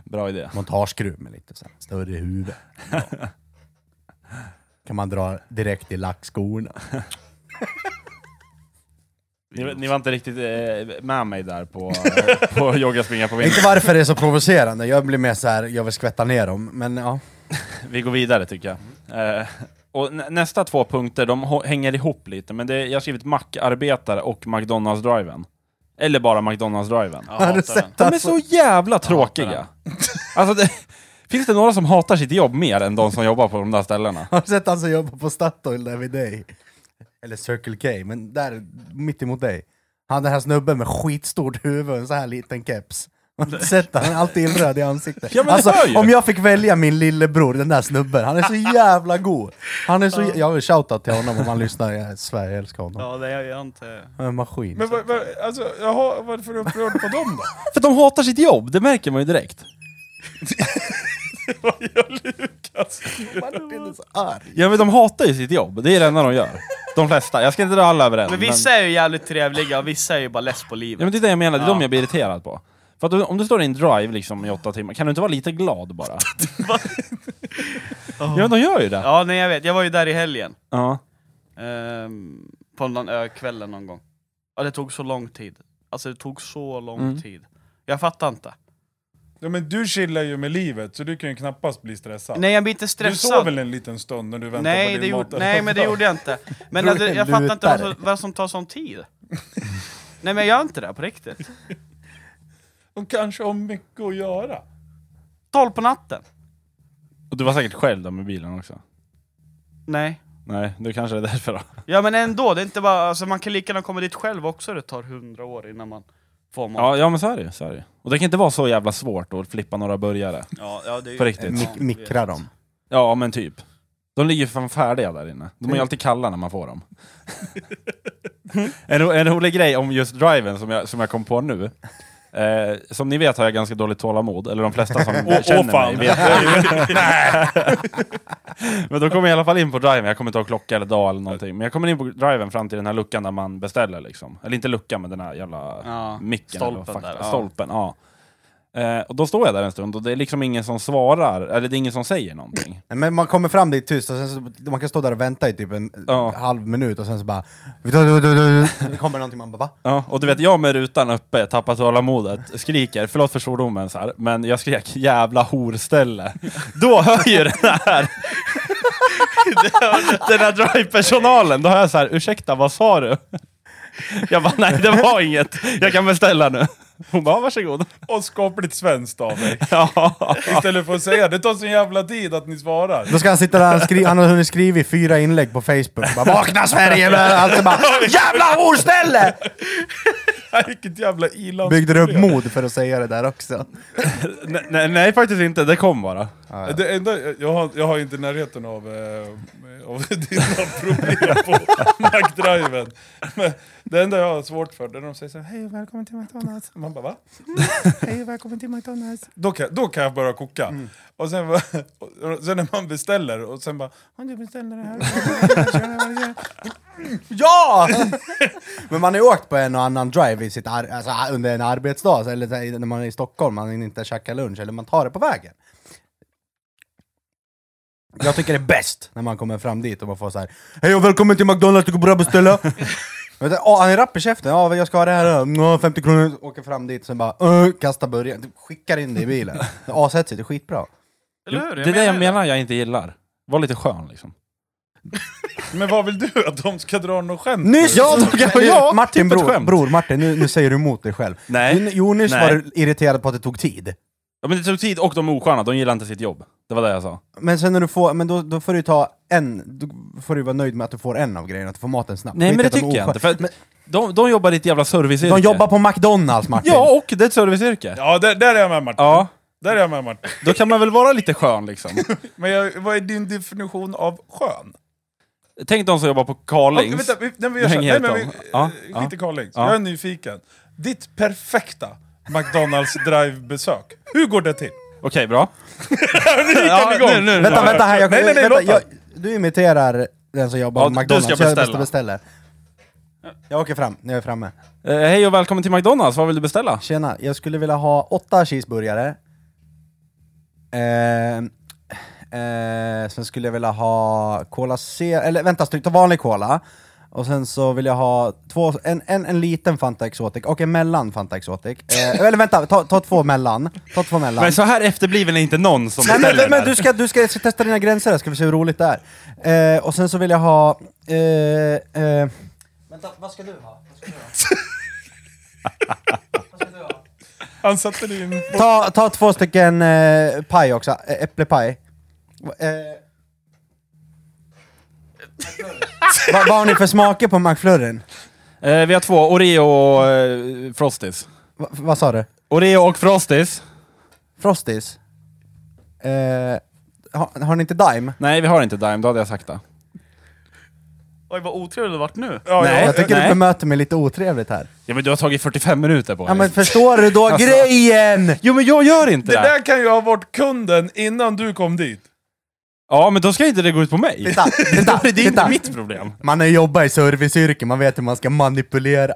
A: Bra idé.
C: Montageskruv med lite så här större huvud. *laughs* kan man dra direkt i lackskorna.
A: Ni, ni var inte riktigt eh, med mig där
C: *laughs*
A: på, eh, på jogga, springa på
C: Inte
A: vintern.
C: varför det är så provocerande, jag blir mer så här, jag vill skvätta ner dem. Men ja,
A: Vi går vidare tycker jag. Eh, och nä- nästa två punkter, de hå- hänger ihop lite, men det, jag har skrivit mackarbetare och McDonalds-driven. Eller bara McDonalds-driven.
B: Jag
C: har du
B: hatar den.
C: sett
A: De *laughs* är
C: alltså?
A: så jävla
B: den.
A: tråkiga. *laughs* Alltså, det, finns det några som hatar sitt jobb mer än de som jobbar på de där ställena?
C: Har du sett han som jobbar på Statoil där vid dig? Eller Circle K, men där mitt emot dig. Han den här snubben med skitstort huvud och en så här liten keps. Har du sett han? Han är alltid illröd i ansiktet.
A: Ja, men
C: alltså,
A: det hör ju.
C: om jag fick välja min lillebror, den där snubben, han är så jävla god. Han är så, jag vill shoutout till honom om han lyssnar, jag, Sverige älskar honom.
B: Ja, det är jag inte...
C: Han är en maskin.
D: Men vad, vad, alltså, jaha, varför är du upprörd på dem då?
A: *laughs* För att de hatar sitt jobb, det märker man ju direkt.
D: Vad gör Lukas?
C: Martin är så arg.
A: *laughs* Ja men de hatar ju sitt jobb, det är det enda de gör. De flesta, jag ska inte dra alla över en.
B: Men vissa är ju jävligt trevliga och vissa är ju bara less på
A: Ja
B: livet.
A: men det är det jag menar, det är
B: Ja.
A: de jag blir irriterad på. För att om du står i en drive liksom i åtta timmar, kan du inte vara lite glad
B: *laughs*
A: bara? ja men de gör ju det.
B: Ja, nej jag vet. Jag var ju där i helgen.
A: Ja.
B: Ehm, på någon ökvällen någon gång. Ja, det tog så lång tid. Alltså det tog så lång
A: Mm.
B: tid. Jag fattar inte.
D: Ja, men du chillar ju med livet, så du kan ju knappast bli stressad.
B: Nej, jag blir inte
D: du sov
B: stressad.
D: väl en liten stund när du väntade
B: nej,
D: på
B: det
D: din
B: gjorde,
D: mat?
B: nej,
D: *laughs*
B: men det gjorde jag inte. Men
C: Tror
B: alltså,
C: du
B: jag
C: den
B: fattar inte vad som,
C: lutar?
B: vad som tar sån tid. nej, men jag gör inte det på riktigt.
D: Och kanske har mycket att göra.
B: 12 på natten.
A: Och du var säkert själv där med bilen också?
B: Nej.
A: Nej, det kanske är därför då.
B: Ja, men ändå. Det är inte bara, alltså, man kan lika gärna komma dit själv också. Det tar 100 år innan man får mat.
A: Ja, ja men så är det ju, så är det ju. Och det kan inte vara så jävla svårt att flippa några burgare.
B: Ja, ja, det är
A: På riktigt.
C: Mik- mikra dem.
A: Ja men typ. De ligger fan färdiga där inne. De är ju alltid kalla när man får dem. en, ro, en rolig grej om just driven som jag, som jag kom på nu. Eh, som ni vet har jag ganska dåligt tålamod, eller de flesta som
D: Åh,
A: känner
D: åh, fan.
A: mig vet *laughs*
B: *laughs*
A: Men då kommer jag i alla fall in på driven, jag kommer inte ha klocka eller dag eller någonting. Men jag kommer in på driven fram till den här luckan där man beställer liksom. Eller inte luckan, men den här jävla
B: Ja,
A: micken.
B: stolpen
A: eller vad
B: där,
A: fuck-
B: ja.
A: Stolpen, ja. Eh, och då står jag där en stund och det är liksom ingen som svarar, eller det är ingen som säger någonting.
C: Nej, Men man kommer fram dit tyst, och sen så, man kan stå där och vänta i typ en
A: Ja.
C: halv minut och sen så bara... Det kommer någonting, man bara va?
A: Ja, och du vet, jag med rutan uppe, tappat tålamodet, skriker, förlåt för svordomen så här, men jag skrek 'jävla horställe' Då hör ju den här *laughs* den här drive-personalen, då hör jag så här, 'ursäkta, vad sa du?' Jag bara 'nej, det var inget, jag kan beställa nu' Hon bara 'varsågod'
D: Och skapligt svenskt av dig.
A: *laughs* ja.
D: Istället för att säga det tar sån jävla tid att ni svarar.
C: Då ska han sitta där, han, skri- han har hunnit skriva fyra inlägg på Facebook. Bara, Vakna Sverige! Men Alltså bara, Jävla horställe!
D: Vilket jävla iland.
C: Byggde du upp mod för att säga det där också?
A: nej, nej, nej, faktiskt inte, det kom bara
D: Det enda, jag, har, jag har inte närheten av, eh, av *laughs* dina problem på *laughs* Mac-driven. Men det enda jag har svårt för det är när de säger så här, hej och välkommen till McDonalds. Man bara va? hej och välkommen till McDonalds. Då kan, då kan jag börja koka. Och sen, va- och sen när man beställer och sen bara, om du
C: *laughs*
D: beställer det här.
C: Ja! *laughs* Men man har ju åkt på en och annan drive i sitt ar- alltså, under en arbetsdag, så- eller så här, när man är i Stockholm, man hinner inte käka lunch, eller man tar det på vägen.
A: *laughs*
C: Jag tycker det är bäst när man kommer fram dit och man får så här Hej och välkommen till McDonalds, du går bra att beställa! Vet du, åh, han är rapp i käften, ja jag ska ha det här, mm, 50 kronor, åker fram dit, sen bara uh, kastar burgaren, typ skickar in det i bilen. Ashetsigt, det är skitbra.
B: Eller hur?
A: det är det jag menar jag inte gillar. Var lite skön liksom.
D: Men vad vill du? *laughs* Att de ska dra något skämt?
C: Nyss!
A: Ja, då kan jag- ja,
C: Martin,
A: typ ett
C: bror,
A: skämt.
C: bror Martin, nu, nu säger du emot dig själv.
A: Nej.
C: Du- Jo, nyss
A: Nej.
C: var du irriterad på att det tog tid.
A: Ja, men det tog tid och de är osköna, de gillar inte sitt jobb. Det var det jag sa.
C: Men sen när du får, men då, då får du ta en, då får du vara nöjd med att du får en av grejerna, att du får maten snabbt.
A: Nej
C: Skit
A: men det
C: att de är
A: tycker jag
C: osköna.
A: inte, för
C: Men
A: att de, de jobbar i ett jävla serviceyrke.
C: de jobbar på McDonalds Martin!
A: Ja, och det är ett serviceyrke. Ja.
D: Ja, där, där är jag med Martin. Där är jag med Martin.
A: då kan man väl vara lite skön liksom.
D: Men jag, vad är din definition av skön?
A: Tänk de som jobbar på
D: Okej,
A: Carlings.
D: vänta, vi, nej, men
A: Det
D: jag kör.
A: hänger
D: Nej, men vi,
A: helt om. Ja,
D: eh,
A: ja.
D: skit i Carlings.
A: Ja.
D: Jag är nyfiken. Ditt perfekta McDonalds Drive-besök, hur går det till?
A: *laughs* Okej, bra.
D: Nu gick han igång!
A: nu, nu, nu.
C: Vänta, vänta här, jag,
D: Nej, nej, nej,
C: vänta,
D: låt han.
C: jag, du imiterar den som jobbar
A: Ja,
C: på
A: du
C: McDonalds,
A: ska
C: så jag
A: beställa.
C: beställer. Jag åker fram, när jag är framme.
A: Eh, hej och välkommen till McDonalds, vad vill du beställa?
C: Tjena, jag skulle vilja ha åtta cheeseburgare. Eh, eh, sen skulle jag vilja ha Cola C, eller vänta, ta vanlig Cola. Och sen så vill jag ha två, en, en, en liten Fanta Exotic och en mellan Fanta Exotic. Eh, eller vänta, ta, ta två mellan. Ta två mellan.
A: Men så här efterbliven är inte någon som
C: Nej,
A: beställer
C: men,
A: den
C: men, men
A: här.
C: du, ska, du ska testa dina gränser här, ska vi se hur roligt det är. Eh, och sen så vill jag ha... Eh, eh, vänta, vad ska du ha? Vad ska du ha? vad ska du ha?
D: Han satte det in på...
C: Ta, ta två stycken eh, paj också, Ä- äpplepaj. Va- Eh, vad vad har ni för smaker på McFlurryn?
A: Eh, vi har två, Oreo och eh, Frosties.
C: Va, vad sa du?
A: Oreo och Frosties?
C: Frosties? Eh, har, har ni inte Dime?
A: Nej, vi har inte Dime, då hade jag sagt det.
B: Oj vad otrevligt det varit nu.
D: Ja,
A: Nej.
D: ja,
C: Jag tycker
A: nej.
C: du bemöter mig lite otrevligt här.
A: Ja men du har tagit 45 minuter på dig.
C: Ja men förstår du då
A: Alltså.
C: grejen?
A: Jo men jag gör inte
D: det där kan ju ha varit kunden innan du kom dit.
A: Ja men då ska inte *laughs* det gå ut på mig.
C: Titta, titta,
A: det är inte
C: titta.
A: mitt problem.
C: Man har jobbat i serviceyrken, man vet hur man ska manipulera.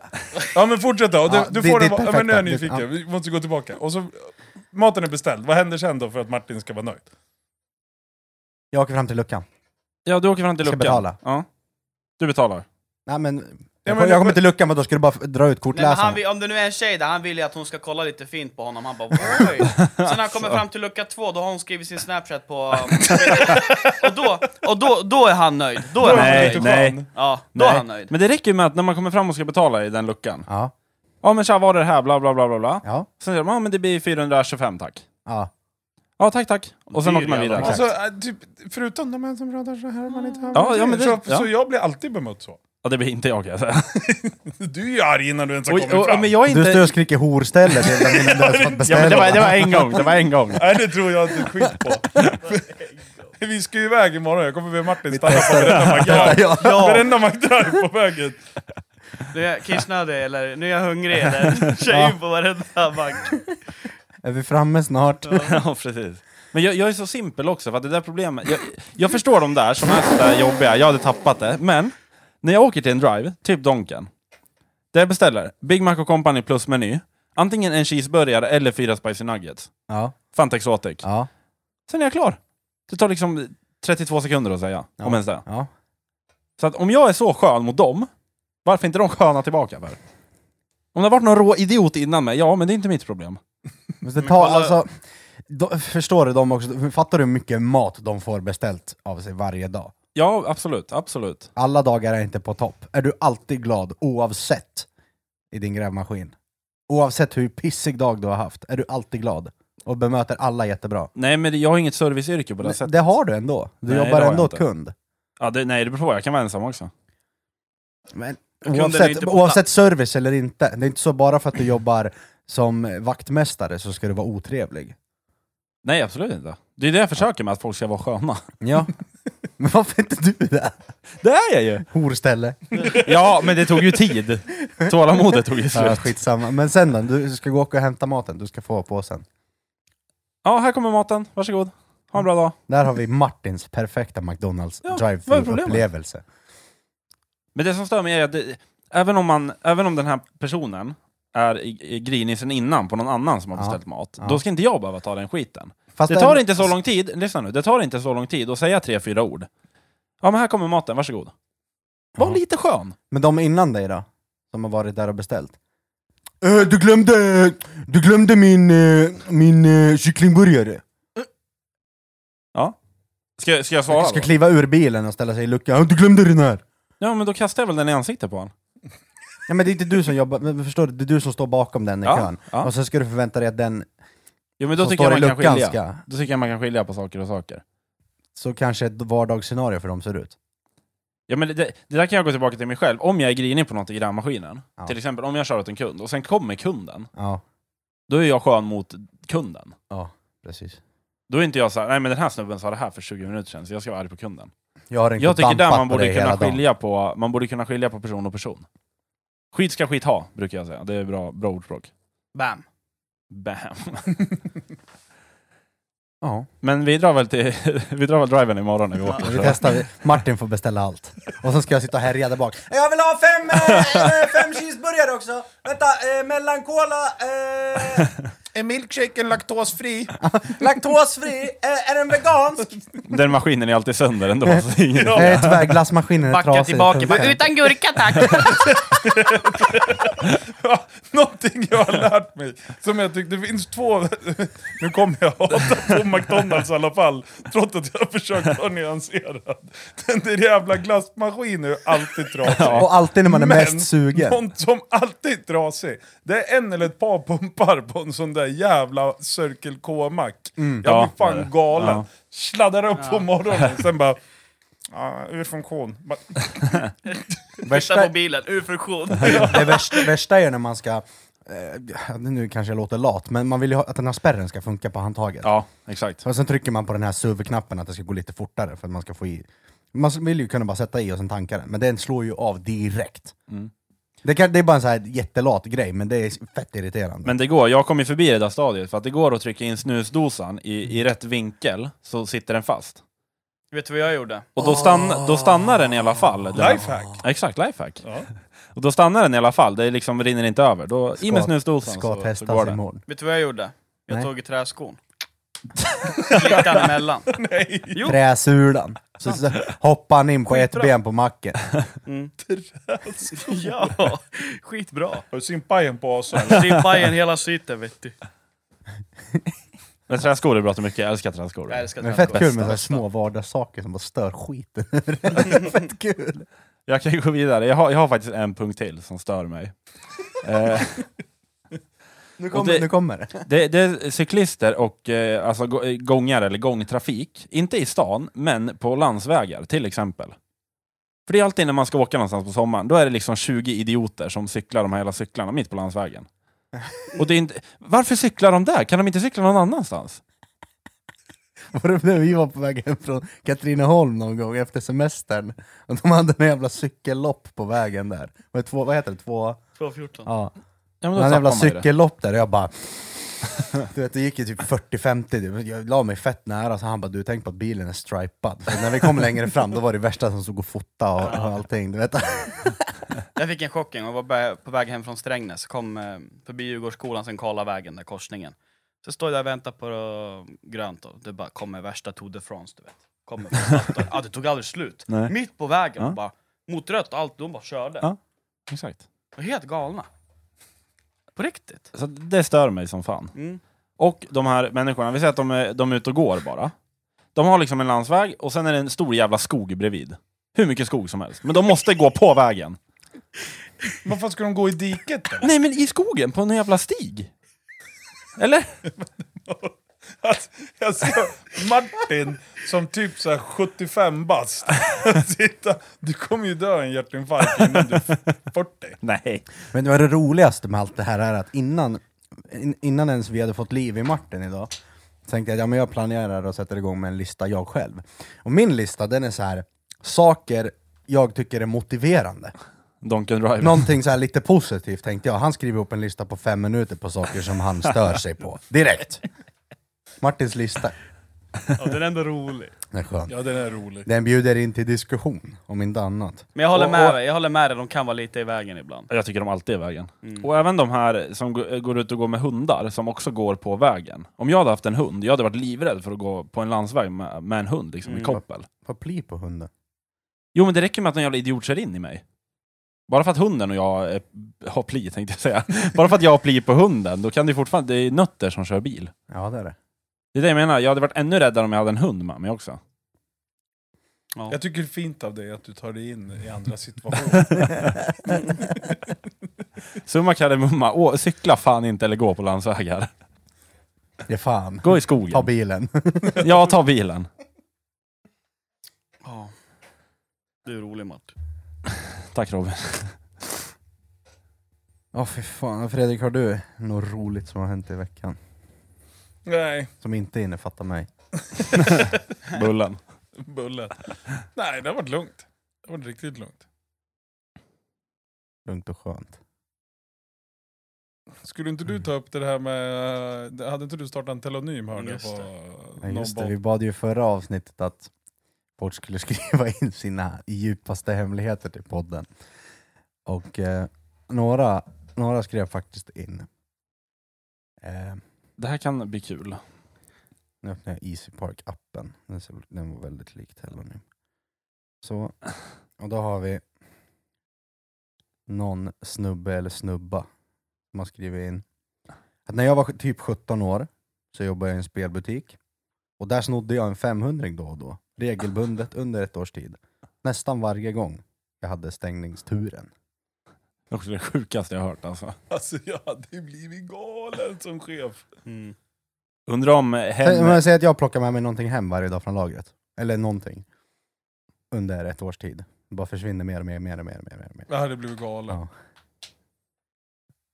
D: Ja men fortsätt då. Du,
C: Ja,
D: du
C: det-
D: får
C: det är
D: en, ja, men nu är jag
C: perfekta.
D: nyfiken,
C: Det-
D: vi måste gå tillbaka. Och så, maten är beställd, vad händer sen då för att Martin ska vara nöjd?
C: Jag åker fram till luckan.
A: Ja du åker fram till
C: Ska
A: luckan.
C: betala.
A: Ja. Du betalar.
C: Nej men, jag,
D: men
C: kom-
D: det-
C: jag kommer till luckan men då ska du bara f- dra ut
B: Nej, men
C: kortläsaren.
B: han vill, om det nu är en tjej där, han vill ju att hon ska kolla lite fint på honom, han bara
C: *laughs*
B: oj. Sen när han kommer fram till lucka två, då har hon skrivit sin snapchat
C: *laughs*
B: på... um, och då, och då, då är han nöjd. Då är han
A: Nej,
B: nöjd.
A: nej.
D: skön.
B: Ja, då är han nöjd.
A: Men det räcker ju med att när man kommer fram och ska betala i den luckan.
C: Ja,
A: Ja men tja, vad är det här? Bla bla bla bla bla.
C: ja,
A: Sen säger de, ja men det blir 425 tack.
C: ja.
A: Ja tack tack. Och sen
B: Det är
A: åker man
B: ju
A: vidare.
B: jävla-
D: Alltså, äh, typ, förutom de här som pratar så här, man inte hör
A: Ja, ja, men det-
D: så,
A: ja.
D: så jag blir alltid bemött så.
A: Ja det blir inte jag kan jag säga.
D: Du är ju arg innan du ens har
A: Och,
D: kommit
A: och,
D: fram.
A: men jag är
C: Du står
A: inte...
C: och skriker horställe till den innan du ens
A: *laughs*
C: fått
A: Ja, men det, var, det
C: beställa.
A: var en gång, det var en gång.
D: Nej, det tror jag inte
C: *laughs*
D: skit på. Vi ska ju iväg imorgon, jag kommer be Martin stanna på varenda McDrive.
C: *laughs* Ja.
D: Varenda McDrive på vägen.
B: Nu är jag kissnödig, eller nu är jag
C: *laughs*
B: hungrig, eller tjejen på varenda mack.
C: Är vi framme snart?
A: *laughs* Ja, precis. Men jag, jag är så simpel också, för att det där problemet... Jag, jag förstår de där som är sådär jobbiga, jag hade tappat det. Men, när jag åker till en drive, typ Donken, där jag beställer Big Mac och Company plus meny, antingen en cheeseburgare eller fyra spicy nuggets.
C: Ja.
A: Fanta Exotic.
C: Ja.
A: Sen är jag klar. Det tar liksom 32 sekunder att säga, om ens det.
C: ja.
A: Så att om jag är så skön mot dem, varför är inte de sköna tillbaka för? Om det har varit någon rå idiot innan mig, ja men det är inte mitt problem.
C: Måste ta,
B: kolla-
C: alltså, då, förstår du dem också? Fattar du hur mycket mat de får beställt av sig varje dag?
A: Ja, absolut, absolut.
C: Alla dagar är inte på topp. Är du alltid glad oavsett i din grävmaskin? Oavsett hur pissig dag du har haft, är du alltid glad och bemöter alla jättebra.
A: Nej men jag har inget serviceyrke på det
C: Men
A: sättet.
C: Det har du ändå. Du
A: Nej, det
C: jobbar
A: har jag
C: ändå åt
A: inte.
C: kund.
A: Ja, det, nej, det beror på. Jag kan vara ensam också.
C: Men
B: Kunden är
C: oavsett,
B: inte borta.
C: oavsett service eller inte, det är inte så bara för att du jobbar som vaktmästare så ska du vara otrevlig.
A: Nej, absolut inte. Det är det jag försöker med, att folk ska vara sköna.
C: Ja. Men varför inte du det?
A: *laughs* Det är jag ju!
C: Horställe.
A: Ja, men det tog ju tid. Tålamodet tog ju
C: Ja,
A: slut.
C: skitsamma. Men sen då, du ska gå och hämta maten, du ska få påsen.
A: Ja, här kommer maten. Varsågod. Ha en bra dag.
C: Där har vi Martins perfekta McDonalds
A: Ja,
C: drive
A: vad är
C: thru
A: problemet?
C: upplevelse
A: Men det som stör mig är att det, även, om man, även om den här personen är i- i grinig sen innan på någon annan som har
C: Ja.
A: beställt mat,
C: Ja.
A: då ska inte jag behöva ta den skiten.
C: Fast
A: Det tar inte så lång tid, lyssna nu, det tar inte så lång tid att säga tre, fyra ord. Ja, men här kommer maten, varsågod. Var
C: Ja.
A: lite skön.
C: Men de innan dig då? som har varit där och beställt. Eh, du glömde, du glömde min, eh, min eh, kycklingburgare.
A: Ska, ska jag svara
C: Jag ska
A: då?
C: kliva ur bilen och ställa sig i luckan. "Eh, Du glömde den här!
A: Ja men då kastar jag väl den i ansiktet på honom.
C: Ja, men det är inte du som jobbar, men förstår du? Det är du som står bakom den i
A: Ja,
C: kön.
A: ja.
C: Och sen ska du förvänta dig att den
A: Jo men då
C: som
A: tycker jag
C: står i
A: man kan
C: luckan
A: skilja.
C: ska...
A: Då tycker jag man kan skilja på saker och saker.
C: Så kanske ett vardagsscenario för dem ser ut.
A: Ja, men det, det där kan jag gå tillbaka till mig själv. Om jag är grinig på något i grävmaskinen,
C: Ja.
A: till exempel om jag kör åt en kund och sen kommer kunden,
C: Ja,
A: då är jag skön mot kunden.
C: precis.
A: Då är inte jag så här, nej men den här snubben sa det här för 20 minuter sedan, så jag ska vara arg på kunden.
C: Jag har en
A: Jag tycker där
C: dampat
A: man
C: på dig
A: borde,
C: hela
A: kunna
C: dagen.
A: skilja på, man borde kunna skilja på person och person. Skit ska skit ha, brukar jag säga. Det är bra, bra ordspråk.
B: Bam.
A: Bam! *laughs* ja, men vi drar väl till, *laughs* vi drar väl driven imorgon när vi åker.
C: Vi testar, vi- Martin får beställa allt. Och sen ska jag sitta och härja
A: *laughs*
C: där bak. Jag vill ha fem, eh, fem cheeseburgare också! Vänta, eh, mellankola, *laughs* eh,
D: Är milkshaken laktosfri?
C: laktosfri, eh, är den vegansk?
A: Den maskinen är alltid sönder ändå. Så
C: *laughs*
A: ingen...
D: Ja.
C: Nej tyvärr, glassmaskinen är
B: Backa
C: trasig.
B: tillbaka. Bara, Utan gurka
C: *laughs*
B: tack!
D: Ja, Någonting jag har lärt mig, som jag tyckte, det finns två... *laughs* Nu kommer jag hata på McDonalds i alla fall, trots att jag har försökt vara nyanserad. Den där jävla glassmaskinen är ju alltid trasig.
C: Och alltid när man är
D: Men
C: mest sugen.
D: någon som alltid är trasig, det är en eller ett par pumpar på en sån där jävla Circle K-mack.
C: Mm.
D: jag
A: Ja,
D: blir fan
A: det är det.
D: galen.
A: Ja.
D: Sladdar upp på morgonen, sen bara... Ja, ur funktion. Bara,
B: Värsta mobilen, ur funktion.
C: Det värsta, värsta är när man ska... Eh, nu kanske jag låter lat, men man vill ju ha, att den här spärren ska funka på handtaget.
A: Ja, exakt.
C: Och sen trycker man på den här SUV-knappen att det ska gå lite fortare för att man ska få i... Man vill ju kunna bara sätta i och sen tanka den, men den slår ju av direkt.
A: Mm.
C: Det, kan, det är bara en så här jättelat grej, men det är fett irriterande.
A: Men det går, jag kom ju förbi det där stadiet, för att det går att trycka in snusdosan
B: Mm.
A: i, i rätt vinkel, så sitter den fast.
B: Vet du vad jag gjorde?
A: Och då, stann, då stannar den i alla fall. Den-
D: Lifehack!
A: Exakt, lifehack. *laughs*
D: Ja.
A: Och då stannar den i alla fall, det liksom rinner inte över. Då, I med
C: Ska-
A: snusdosan
C: Ska
A: så, så går
C: testas
A: det.
C: imorgon.
B: Vet du vad jag gjorde? Jag
C: Nej.
B: tog i
C: *laughs*
B: träskon. Klickade den emellan.
D: Nej!
B: Jo.
C: Träsulan. Så, så hoppar han in på ett ben på macken.
B: Mm. Ja, skitbra.
D: Har du simpajen på
A: *laughs*
D: oss?
B: Strippa igen hela syten vet du.
A: Men träskor är bra till mycket, jag älskar träskor.
B: Jag älskar
C: Men fett
B: träskor.
C: kul med så här små vardagssaker som bara stör skiten. *laughs* fett kul!
A: Jag kan gå vidare, jag har, jag har faktiskt en punkt till som stör
B: *laughs*
A: mig. eh,
C: Nu
A: kommer-
C: kommer det.
A: nu det, det är cyklister och eh, alltså, gå- eh, gångare eller gångtrafik, inte i stan, men på landsvägar till exempel. För det är alltid när man ska åka någonstans på sommaren, då är det liksom 20 idioter som cyklar de här hela cyklarna mitt på landsvägen. Och det är inte, varför cyklar de där? Kan de inte cykla någon annanstans?
C: Var det när vi var på väg hem från Katrineholm någon gång efter semestern? Och de hade en jävla cykellopp på vägen där. Med två, vad heter det? Två...
B: 2.14.
C: Ja.
A: Ja, men
C: Han
A: tappar
C: jävla
A: man ju det.
C: cykellopp där och jag bara... *laughs* Du vet, det gick ju typ 40-50, typ. jag la mig fett nära, så han bara du tänk på att bilen är stripad. Så när vi kom längre fram då var det värsta som stod och fota och, och allting. Du vet. *laughs*
B: Jag fick en chock en gång, jag var på väg hem från Strängnäs, kom eh, förbi Djurgårdsskolan, sen Karlavägen, där korsningen. Så står jag där och väntar på eh, grönt och det bara kommer värsta Tour de France du vet. Kommer värsta- ja, det tog aldrig slut.
A: Nej.
B: Mitt på vägen,
A: Ja.
B: och bara, mot rött och allt, de bara körde.
A: Ja. Exakt.
B: De var Helt galna. På riktigt.
A: Så det stör mig som fan.
B: Mm.
A: Och de här människorna, vi säger att de är, de är ute och går bara. De har liksom en landsväg och sen är det en stor jävla skog bredvid. Hur mycket skog som helst. Men de måste gå på vägen.
D: Varför ska de gå i diket *laughs* eller?
A: Nej men i skogen, på en jävla stig. Eller?
D: Alltså, jag ser Martin som typ så här 75 bast. *laughs* Sitta, du kommer ju dö i en hjärtinfarkt innan du är 40.
A: Nej.
C: Men det, var det roligaste med allt det här är att innan, in, innan ens vi hade fått liv i Martin idag, tänkte jag att ja, men jag planerar och sätter igång med en lista jag själv. Och min lista den är så här saker jag tycker är motiverande.
A: Donken Drive.
C: Någonting så här lite positivt tänkte jag. Han skriver upp en lista på fem minuter på saker som han stör sig på. Direkt! Martins lista.
B: Ja, den är ändå rolig.
C: Den är skön.
D: Ja, den är rolig.
C: Den bjuder in till diskussion, om inte annat.
B: Men jag håller
A: Och-
B: med
A: och-
B: dig, jag håller med dig, de kan vara lite i vägen ibland.
A: Jag tycker de alltid är vägen. Och även de här som g- går ut och går med hundar, som också går på vägen. Om jag hade haft en hund, jag hade varit livrädd för att gå på en landsväg med, med en hund liksom, i koppel.
C: Vad blir på hunden?
A: Jo men det räcker med att en jävla idiot kör in i mig. Bara för att hunden och jag är, har pli, tänkte jag säga. Bara för att jag har pli på hunden, då kan det ju fortfarande... Det är nötter som kör bil.
C: Ja det är det.
A: Det är det jag menar. Jag hade varit ännu räddare om jag hade en hund med mig också.
D: Jag tycker fint av dig att du tar dig in i andra *laughs* situationer.
A: *laughs* Summa kardemumma. Å, cykla fan inte eller gå på landsvägar.
C: Det är fan.
A: Gå i
C: Ta
A: skogen.
C: bilen.
A: Ja, ta bilen.
B: Ja. Du är rolig Martin.
A: Tack Robin.
C: Ja fy fan. Fredrik, har du något roligt som har hänt i veckan?
D: Nej,
C: Som inte innefattar mig?
A: Bullen.
D: bulle. Nej, det har varit lugnt. Det har varit riktigt lugnt.
C: Lugnt och skönt.
D: Skulle inte du ta upp det här med... eh, Hade inte du startat en telonym hörde jag
B: Just
D: på
C: Ja,
D: någon
C: just det,
D: boll?
C: vi bad ju i förra avsnittet att folk skulle *laughs* skriva in sina djupaste hemligheter till podden. Och eh, några, några skrev faktiskt in. Eh,
A: Det här kan bli kul.
C: nu öppnar jag Easy Park-appen. Den, ser- den var väldigt lik Telonym. Så, och då har vi någon snubbe eller snubba som har skrivit in att när jag var typ 17 år så jobbade jag i en spelbutik och där snodde jag en 500 då och då, regelbundet under ett års tid. Nästan varje gång jag hade stängningsturen.
A: Det är också det sjukaste jag har hört alltså.
D: *laughs* Alltså jag hade ju blivit galen som chef.
B: Mm.
A: Undrar om
C: Säg- Om
A: hem...
C: jag säger att jag plockar med mig någonting hem varje dag från lagret, eller någonting, under ett års tid. Det bara försvinner mer och mer och mer och mer. Och mer, och mer, och mer.
D: Jag hade blivit galen.
C: Ja.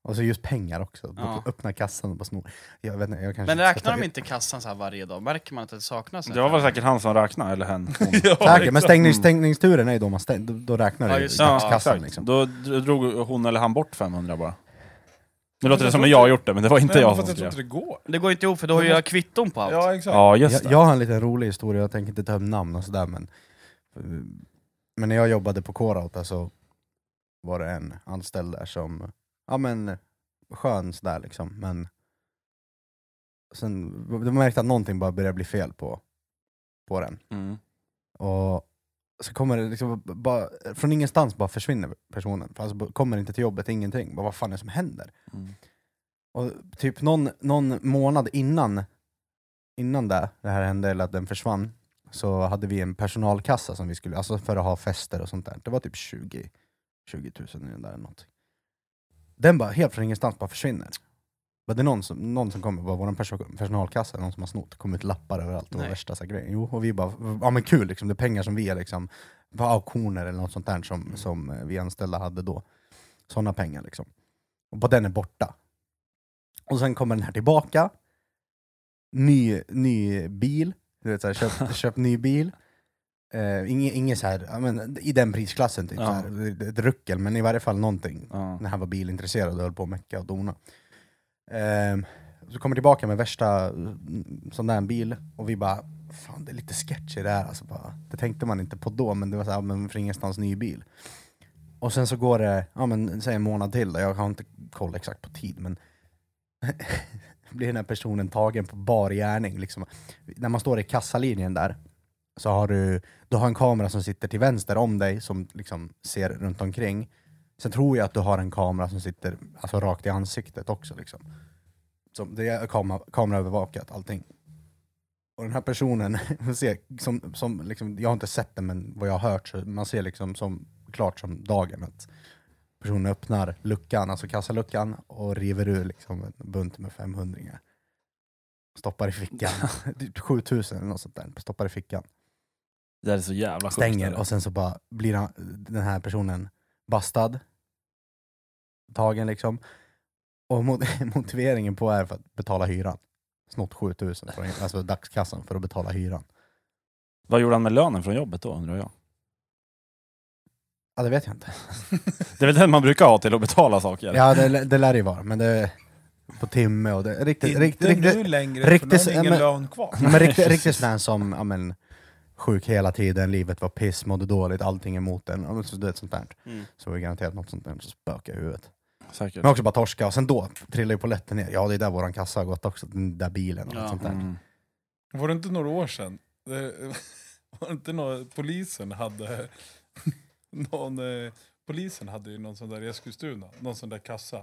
C: Och så just pengar också.
B: Ja.
C: Öppna kassan och bara sno. Jag vet inte, jag kanske
B: Men
C: inte ska
B: räknar
C: ta-
B: de inte kassan så här varje dag? Märker man att det saknas? en
A: Det var väl
B: femma?
A: säkert han som räknade, eller hen. Hon.
D: *laughs* Ja,
C: Säkert, men
D: exakt.
C: stängning,
A: Mm.
C: stängningsturen är ju då man stäng, då, då
B: liksom? Ja,
C: räknar du
B: just det.
A: Ja,
C: dagskassan.
A: exakt.
C: liksom.
A: Då dr- drog hon eller han bort 500 bara. Nu
D: jag
A: låter det som
D: tror
A: att jag har gjort det, men det var inte
D: Nej,
A: jag som
D: men för att jag
A: skrev.
D: tror inte det går.
B: Det går inte ihop för då har jag kvitton på allt.
D: Ja, exakt.
A: Ja, just
C: jag,
A: det.
C: jag har en liten rolig historia, jag tänker inte ta upp namn och sådär men Men när jag jobbade på K-Rauta så var det en anställd där som, ja men skön sådär liksom men Sen de märkte att någonting bara började bli fel på, på den
A: Mm.
C: och så kommer det liksom bara, från ingenstans bara försvinner personen, alltså, bara- kommer inte till jobbet, ingenting. Bara, vad fan är det som händer?
A: Mm.
C: Och typ någon, någon månad innan, innan det, det här hände, eller att den försvann, så hade vi en personalkassa som vi skulle, alltså för att ha fester och sånt där. Det var typ 20, 20 000 i den där eller något. Den bara helt från ingenstans bara försvinner. Var det någon som, någon som kommer, bara vår perso- personalkassa, någon som har snott, kom ut lappar överallt och
B: Nej.
C: värsta så här grejen. Jo, och vi bara, ja men kul liksom, det är pengar som vi är liksom, på auktioner eller något sånt där som, som eh, vi anställda hade då. Sådana pengar liksom. Och bara den är borta. Och sen kommer den här tillbaka. Ny, ny bil. Du vet, så här, köpt, köpt ny bil. Eh, Inget inge så här, ja, men, i den prisklassen, typ,
A: Ja.
C: så här, Det- ett ruckel, men i varje fall någonting.
A: Ja.
C: När han var bilintresserad och höll på att mecka och dona. Ehm, så kommer tillbaka med värsta mm, sån där bil, och vi bara Fan det är lite sketchy det här alltså bara, Det tänkte man inte på då, men det var såhär, men från ingenstans ny bil. Och sen så går det, ja men säg en månad till då, jag har inte koll exakt på tid men *laughs* blir den här personen tagen på bar gärning. Liksom. När man står i kassalinjen där, så har du, du har en kamera som sitter till vänster om dig, som liksom ser runt omkring. Sen tror jag att du har en kamera som sitter alltså, rakt i ansiktet också. Liksom. Som, det är kamera, kameraövervakat, allting. Och den här personen, *laughs* man ser, som, som, liksom, jag har inte sett den men vad jag har hört, så man ser liksom som, klart som dagen att personen öppnar luckan, alltså kassaluckan, och river ur liksom, en bunt med 500 Stoppar i fickan, Typ 7000 eller något sånt där, stoppar i fickan
A: Det där är så jävla sjukt. alltså.
C: stänger
A: eller?
C: och sen så bara blir han, den här personen bastad. Tagen liksom. Och mot, *laughs* motiveringen på är för att betala hyran. Snott 7000 från alltså dagskassan för att betala hyran.
A: Vad gjorde han med lönen från jobbet då, undrar jag?
C: Ja det vet jag inte.
A: Det är väl den man brukar ha till att betala saker?
C: Ja det, det lär det ju vara, men det på timme och det riktigt, riktigt,
D: inte
C: riktigt,
D: nu längre,
C: riktigt-
D: för nu har ni ingen
C: men-
D: lön kvar.
C: *laughs* men riktigt, riktigt sån här som, ja men sjuk hela tiden, livet var piss, mådde dåligt, allting emot en. Ja, men så- Du vet sånt där.
B: Mm.
C: Så var det garanterat något sånt där som spökar i huvudet.
A: Säkert.
C: Men också bara torska, och sen då trillar ju polletten ner. Ja, det är där våran kassa har gått också, den där bilen och
B: Ja.
C: allt sånt där.
A: Mm.
D: Var det inte några år sedan? *laughs* Det, var det inte några, polisen hade *laughs* någon eh, polisen hade ju någon sån där i Eskilstuna, någon sån där kassa.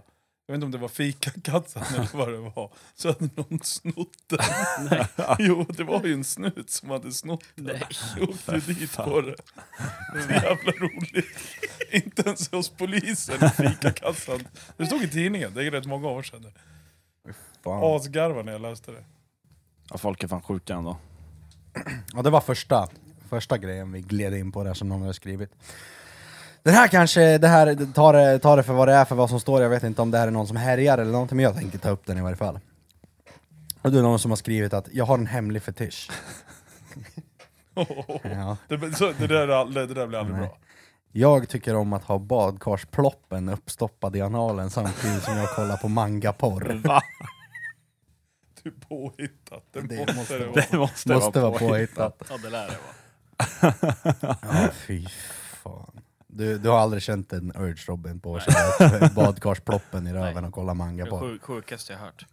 D: Jag vet inte om det var fikakassan *laughs* eller vad det var. Så hade någon snott den. *laughs* Jo, det var ju en snut som hade snott den. Jag åkte dit på det. Så jävla roligt. *laughs* inte ens hos polisen i fikakassan. Det stod i tidningen, det är rätt många år sedan.
C: Fan.
D: Asgarva när jag läste det.
A: Ja, folk är fan sjuka
C: *laughs*
A: ändå.
C: Ja, det var första, första grejen vi gled in på där som någon hade skrivit. Den här kanske, det här, ta det, ta det för vad det är, för vad som står, jag vet inte om det här är någon som härjar eller någonting, men jag tänker ta upp den i varje fall. Och det är någon som har skrivit att jag har en hemlig fetisch. Ja.
D: Det, så, det, där, är all- det där blir aldrig
C: Nej.
D: bra.
C: Jag tycker om att ha badkarsploppen uppstoppad i analen samtidigt som jag kollar på mangaporr.
D: Du är påhittat. Det,
C: Det
D: måste,
C: måste
D: det
C: vara.
D: vara.
A: måste,
C: Måste vara påhittat.
A: Ja, det lär det vara.
C: Ja, fy fan. Du, du har aldrig känt en urge Robin på att köra badkarsploppen i röven och kolla manga
B: Det är
C: på?
B: sjuk, sjukaste jag
C: *laughs*
B: hört.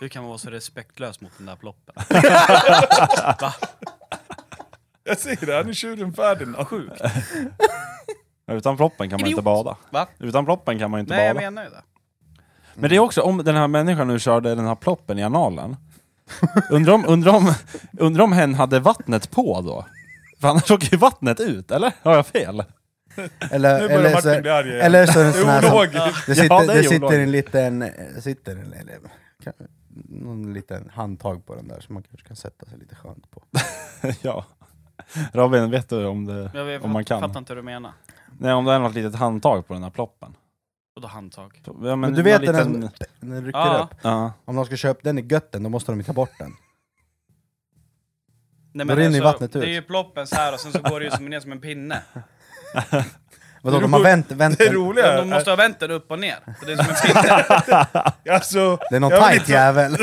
B: Hur kan man vara så respektlös mot den där ploppen?
D: Jag säger det, han är tjuren Ferdinand. Sjuk.
A: Utan proppen kan man inte
B: Idiot.
A: bada.
B: Va?
A: Utan proppen kan man inte
B: Nej jag
A: bada. Men...
B: menar ju det.
A: det är också, om den här människan nu körde den här ploppen i analen. *laughs* Undrar om, undrar om, undrar om hen hade vattnet på då? För annars åker ju vattnet ut, eller? Har jag fel? *laughs*
C: Eller,
D: Nu börjar
C: eller, så,
D: Martin bli arg igen.
C: eller så är det en
D: Det
C: sån här
D: är
C: som,
D: ologiskt.
C: det sitter,
A: Ja, det är
C: det sitter
A: olagligt.
C: en liten, eh, sitter en, eller, kan, någon liten handtag på den där som man kanske kan sätta sig lite skönt på.
A: ja. Robin, vet du om det...
B: Jag vet,
A: Om man kan.
B: fattar inte hur du menar.
A: Nej, om det är något litet handtag på den här ploppen.
B: Och då handtag.
A: Ja, men,
C: Men
A: någon
C: du vet när
A: liten...
C: den, den rycker
B: Ja.
C: upp,
A: Ja.
C: om de ska köpa den i götten då måste de ju ta bort den.
B: Nej,
C: Då rinner ju vattnet ut.
B: alltså, Det är ju ploppen så här och sen så går det ju som ner som en
C: *laughs*
B: pinne.
C: Vadå,
D: Det är
C: de har
D: ro-
C: vänt, vänt
D: Det är
C: den,
D: roliga
B: De
D: är,
B: måste ha vänt den upp och ner. Och det är som en
C: *laughs*
B: pinne.
D: alltså,
C: det är någon
D: jag vet
C: tight
D: inte
C: jävel.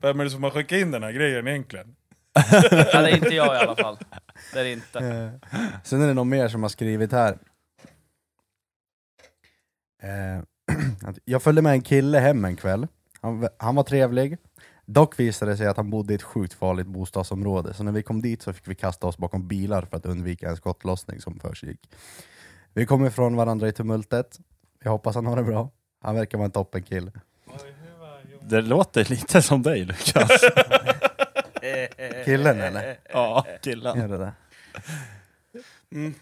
D: vem är det som har skickat in den här grejen egentligen?
B: Ja, det är inte jag i alla fall. Det är det inte.
C: Eh, Sen är det någon mer som har skrivit här. Eh, *clears throat* att Jag följde med en kille hem en kväll. Han, han var trevlig. Dock visade det sig att han bodde i ett sjukt farligt bostadsområde, så när vi kom dit så fick vi kasta oss bakom bilar för att undvika en skottlossning som försiggick. Vi kom ifrån varandra i tumultet. Jag hoppas han har det bra. Han verkar vara en toppenkille.
A: Det låter lite som dig
C: *laughs*
A: Lukas.
C: Killen eller?
A: ja, killen.
C: Är det det?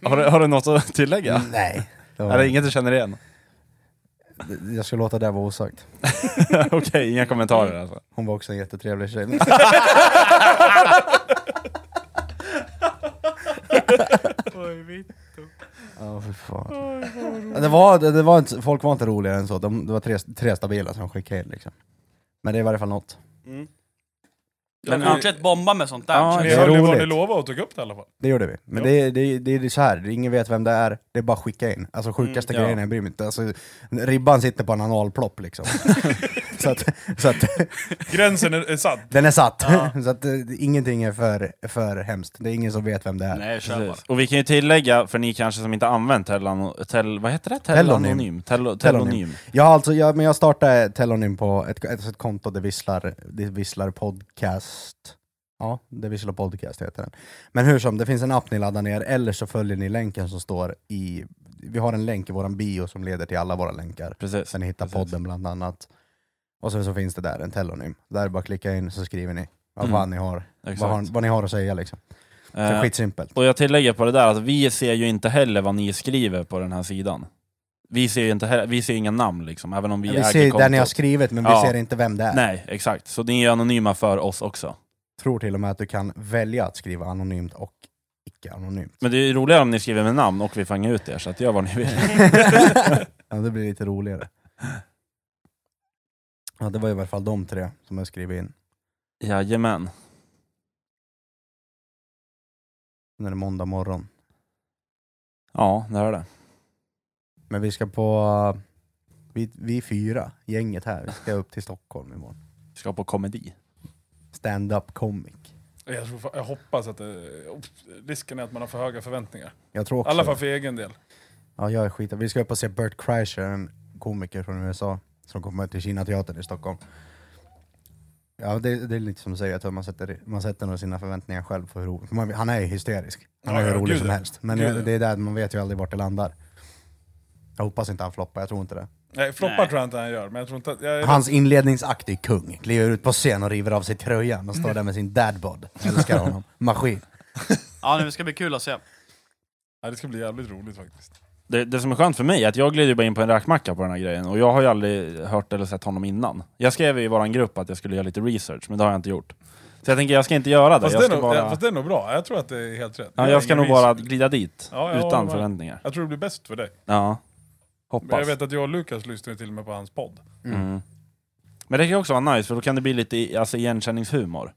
A: Har, du- har du något att tillägga?
C: Nej. Det
A: Är
C: var,
A: det inget du känner
C: *laughs*
A: igen?
C: jag ska låta det vara osagt.
A: Okej, inga kommentarer alltså.
C: Hon var också en
A: *laughs*
C: jättetrevlig tjej. Ja, för fan. Ja, Det var, det, det var inte, folk var inte roligare än så, de, det var tre, tre stabila som skickade in liksom. Men det är i varje fall något.
B: Men Fortsätt bomba med sånt där.
A: Ja,
B: känner
D: Ni
C: det är
B: jag.
D: hörde ju vad ni
C: roligt.
D: lovade och tog upp det i alla fall.
C: Det gjorde vi. Men det, det, det, det är så här, ingen vet vem det är, det är bara att skicka in. Alltså sjukaste
A: Mm, ja.
C: grejen, jag bryr mig inte. Alltså, ribban sitter på en
A: *laughs*
C: analplopp liksom. så att, så att,
D: Gränsen är, är satt.
C: den är satt. *laughs* så att, eh, ingenting är för, för hemskt, det är ingen som vet vem det är.
B: Nej, kör bara.
A: Precis. Och vi kan ju tillägga, för ni kanske som inte använt Tellan... Tell, vad heter det?
C: Tellonym.
A: Tellonym. Tello- Tellonym.
C: Jag, har alltså, jag, men jag startade Telonym på ett, ett, ett konto, det visslar, det visslar podcast. Ja, det visslar podcast heter den. Men hur som, det finns en app ni laddar ner, eller så följer ni länken som står i... Vi har en länk i vår bio som leder till alla våra länkar.
A: Precis.
C: Sen ni hittar
A: Precis.
C: podden bland annat. Och sen så finns det där, en telonym. Där är det bara att klicka in så skriver ni vad
A: Mm.
C: fan ni har, vad, har, vad ni har att säga liksom. Det är
A: Eh,
C: skitsimpelt.
A: och jag tillägger på det där att vi ser ju inte heller vad ni skriver på den här sidan. Vi ser ju inte heller, vi ser inga namn liksom, även om vi,
C: Vi,
A: äger
C: ser där ni har
A: kontot.
C: skrivit men
A: Ja.
C: vi ser inte vem det är.
A: Nej, exakt. Så ni är anonyma för oss också.
C: tror till och med att du kan välja att skriva anonymt och icke-anonymt.
A: Men det är ju roligare om ni skriver med namn och vi fångar ut er, så att gör vad ni vill.
C: ja, det blir lite roligare. Ja, det var i alla fall de tre som jag skrev in.
A: Jajamän.
C: Nu är det måndag morgon.
A: Ja, det är det.
C: Men vi ska på... eh, Vi, vi fyra, gänget här, vi ska upp till Stockholm imorgon.
A: Vi ska på komedi.
C: Stand-up comic.
D: Jag, tror, jag hoppas att det, risken är att man har för höga förväntningar.
C: Jag tror
D: I alla
C: också...
D: fall för egen del.
C: Ja, jag är skit. Vi ska upp och se Bert Kreischer, en komiker från USA, som kommer till Kina teatern i Stockholm. Ja, det, det är lite som du säger, jag tror man sätter, man sätter nog sina förväntningar själv på hur rolig... för Man, han är ju hysterisk. Han
D: Ja,
C: är hur
D: ja,
C: rolig
D: gud,
C: som
D: ja.
C: helst. Men
D: Gud, ja.
C: det är där, man vet ju aldrig vart det landar. Jag hoppas inte han floppar, jag tror inte det.
D: Nej, floppar
B: Nej.
D: tror jag inte han gör, men jag tror inte att... Jag är
C: Hans inledningsakt är kung. Kliver ut på scen och river av sig tröjan och står där med sin dadbod. Jag Älskar honom. Maskin.
B: Ja, nu ska det bli kul att se.
D: ja, det ska bli jävligt roligt faktiskt.
A: Det, det som är skönt för mig är att jag glider ju bara in på en räkmacka på den här grejen och jag har ju aldrig hört eller sett honom innan. Jag skrev i våran grupp att jag skulle göra lite research, men det har jag inte gjort. Så jag tänker jag ska inte göra det.
D: Fast,
A: Jag
D: det är
A: ska,
D: nog, ja,
A: bara,
D: fast det är nog bra, jag tror att det är helt rätt.
A: ja,
D: Det är
A: jag ska
D: ingen
A: nog bara
D: vis-
A: glida dit
D: Ja, ja,
A: utan
D: men-
A: förväntningar.
D: Jag tror det blir bäst för dig.
A: Ja,
D: Men jag
A: hoppas.
D: vet att jag och Lukas lyssnar ju till och med på hans podd.
A: Mm. Men det kan ju också vara nice, för då kan det bli lite i- alltså, igenkänningshumor.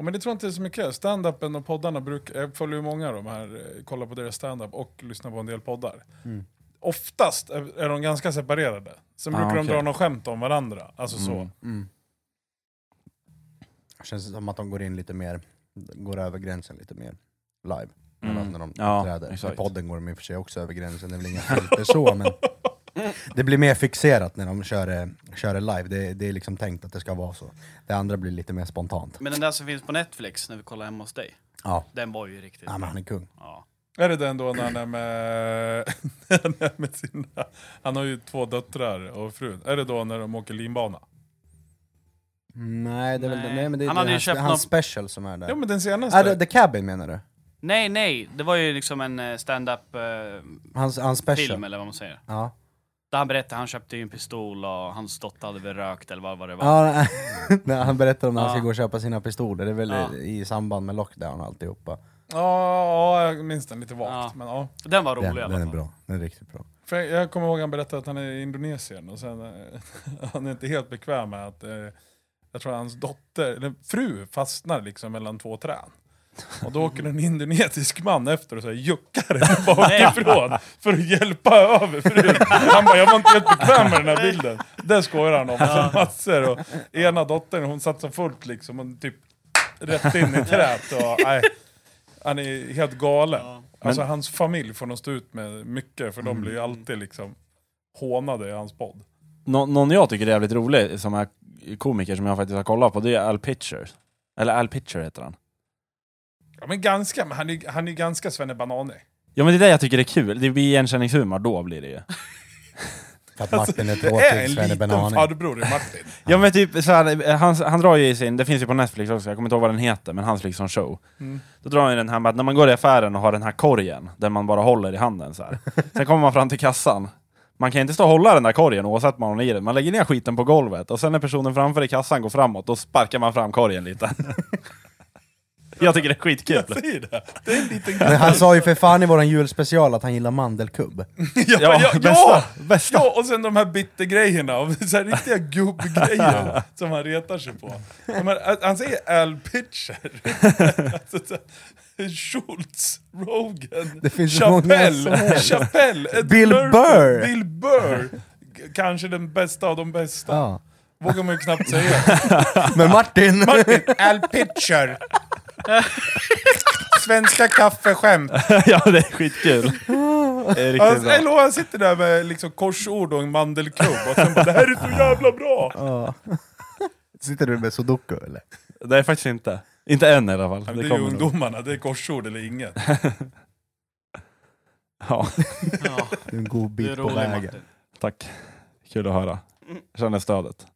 D: Ja, men det tror jag inte är så mycket. Stand-upen och poddarna brukar... Jag följer ju många av de här, eh, kollar på deras stand-up och lyssnar på en del poddar.
C: Mm.
D: Oftast är är de ganska separerade. Sen
A: Ah,
D: brukar de
A: okej.
D: dra något skämt om varandra. Alltså så.
A: Mm.
C: Känns som att de går in lite mer, går över gränsen lite mer live.
A: Mm.
C: Än När de
A: Ja,
C: träder.
A: exakt.
C: I podden går de i och för sig också över gränsen, det är väl inga filter
B: *laughs*
C: så men det blir mer fixerat när de kör, det- kör det live. Det, det är liksom tänkt att det ska vara så. Det andra blir lite mer spontant.
B: Men den där som finns på Netflix när vi kollar hemma hos dig,
C: Ja,
B: den var ju riktigt
C: ja men han är kung.
B: Ja.
D: Är det den då när han är med, *laughs* när han är med sina... Han har ju två döttrar och frun. Är det då när de åker linbana?
C: Nej, det är väl
B: Nej.
C: nej men det är
B: Han
C: han
B: hade ju
C: hans,
B: köpt
C: hans
B: någon-
C: special som är där.
D: Ja men den
C: är
D: senaste.
C: det The Cabin menar du?
B: Nej, nej, det var ju liksom en eh, stand-up eh,
C: Hans, hans special?
B: film eller vad man säger.
C: Ja.
B: Där han berättade, han köpte ju en pistol och hans dotter hade väl rökt eller vad, vad det var.
C: ja *laughs* när han berättar om när han
B: Ja.
C: ska gå och köpa sina pistoler, det är väl
B: Ja.
C: i samband med lockdown och alltihopa.
D: Ja, ja, jag minns den lite vagt.
B: Ja.
D: Men, ja.
B: Den var rolig
C: Den,
B: i alla
C: den
B: fall.
C: är bra, den är riktigt bra.
D: För jag, jag kommer ihåg att han berättade att han är i Indonesien och sen eh, *laughs* han är inte helt bekväm med att eh, jag tror hans dotter, eller fru fastnar liksom mellan två träd. Och då åker en indonesisk man efter och så här juckar henne bakifrån för att hjälpa över frun. Han bara, jag var inte helt bekväm med den här bilden. Det skojar han om. Så massor. Och ena dottern, hon satsar fullt liksom och typ rätt in i träet. Och, nej, han är helt galen. Alltså hans familj får nog stå ut med mycket för
C: Mm.
D: de blir ju alltid liksom hånade i hans podd.
A: Nå någon jag tycker är jävligt rolig, som är komiker som jag faktiskt har kollat på, det är Al Pitcher. Eller Al Pitcher heter han.
D: Ja, men ganska, men han är ju han är ju ganska svennebanan
A: Ja men det är det jag tycker är kul, det blir igenkänningshumor, då blir
D: *laughs*
A: det ju.
C: För att Martin är
D: Alltså, Det är
C: tråkig,
D: en
C: Svenne
D: liten
C: Benani.
D: farbror i Martin. *laughs*
A: Ja men typ så här, han, han drar ju i sin, det finns ju på Netflix också, jag kommer inte ihåg vad den heter, men hans liksom show.
D: Mm.
A: Då drar han ju den här med att när man går i affären och har den här korgen, där man bara håller i handen så
D: *laughs*
A: här. Sen kommer man fram till kassan. Man kan inte stå och hålla den där korgen oavsett vad man har i den. Man lägger ner skiten på golvet och sen när personen framför i kassan går framåt, då sparkar man fram korgen
D: *laughs*
A: lite. jag tycker det är skitkul.
D: Jag säger det. Det är en liten
C: Men han sa ju för fan i våran julspecial att han gillar mandelkubb.
D: *laughs* Ja,
A: Ja,
D: ja, ja,
A: bästa, bästa.
D: ja, och sen de här bittergrejerna, av- *laughs* så här riktiga gubbgrejer som han retar sig på. De här, han säger Al Pitcher, *laughs* alltså, så här, Schultz, Rogan,
C: Det finns så många som
D: Chappelle,
C: helst.
D: Chappelle Ed
C: Bill
D: Murphy,
C: Burr.
D: Bill Burr. G- Kanske den bästa av de bästa.
C: Ja.
D: Vågar man ju knappt säga.
C: Men Martin!
D: Al Pitcher. Svenska kaffeskämt.
A: *laughs* ja det är
C: *laughs*
A: skitkul. Det är riktigt
D: Alltså,
A: bra.
D: eller han sitter där med liksom korsord och en mandelkubb och sen bara, det här är så jävla bra!
C: Sitter du med sudoku eller?
A: Det är faktiskt inte. Inte än i alla fall.
D: Men
A: det
D: det är ju
A: kommer nog.
D: ungdomarna, det är korsord eller inget.
A: *laughs* Ja,
B: Ja,
C: Du är en god
B: du är
C: bit på
B: rolig
C: vägen.
B: Martin.
A: tack. Kul att höra. Jag känner stödet.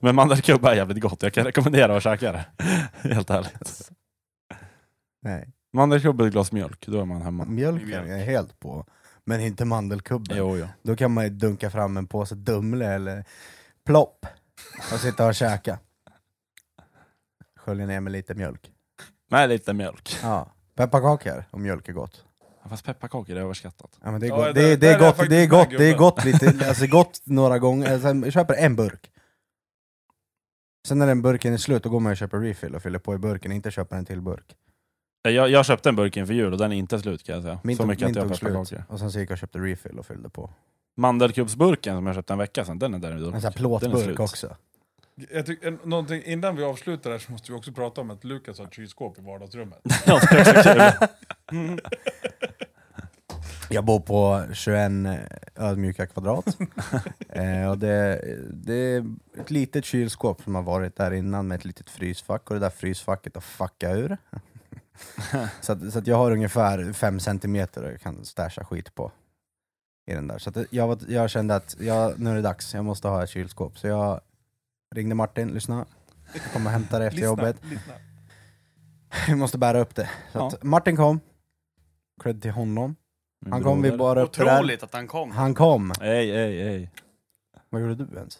A: Men mandelkubb är jävligt gott. Jag kan rekommendera att käka det. *laughs* Helt ärligt.
C: Nej.
A: Mandelkubb och ett glas mjölk, då är man hemma.
C: Mjölk är jag helt på. Men inte mandelkubben.
A: Jo, jo.
C: Då kan man ju dunka fram en påse Dumle eller Plopp och sitta och käka. Skölja ner med lite mjölk.
A: Nej, lite mjölk.
C: Ja. Pepparkakor och mälk är gott.
A: Fast pepparkakor är överskattat.
C: Ja, men det är
D: Ja,
C: gott,
D: där-
C: det, är- det
D: där är
C: är
D: jag
C: gott, det är
D: faktiskt
C: gott,
D: med,
C: det är
D: gubben.
C: gott lite, alltså gott några gånger, sen jag köper en burk. Sen när den burken är slut, då går man och köper refill och fyller på i burken, inte köper en till burk.
A: Eh, Jag, jag köpte en burk inför jul och den är inte slut kan jag säga.
C: Min
A: så
C: tog-
A: mycket
C: min
A: att jag har
C: tog slut.
A: pepparkakor.
C: Och sen så gick jag och köpte refill och fyllde på.
A: Mandelkubbsburken som jag köpte en vecka sedan, den är där nu.
C: En sån här
A: Den är slut.
C: plåtburk också.
D: Jag tycker, en- någonting, innan vi avslutar här så måste vi också prata om att Lukas har ett kylskåp i vardagsrummet.
A: *laughs* Ja, det är också kul.
C: Jag bor på 21 ödmjuka eh, kvadrat. Eh, och det, det är ett litet kylskåp som har varit där innan med ett litet frysfack och det där frysfacket har fuckat ur. så att, så att jag har ungefär 5 centimeter och jag kan stasha skit på. I den där. Så att det- jag, var, jag kände att jag, nu är det dags, jag måste ha ett kylskåp. Så jag ringde Martin, lyssna. Jag kommer hämta det efter jobbet.
D: lyssna.
C: Vi måste bära upp det. Så
A: Ja.
C: att Martin kom, cred till honom. Han kom, vi bar upp det där.
B: Otroligt att han kom.
C: Han kom.
A: Ej, ej, ej.
C: Vad gjorde du ens?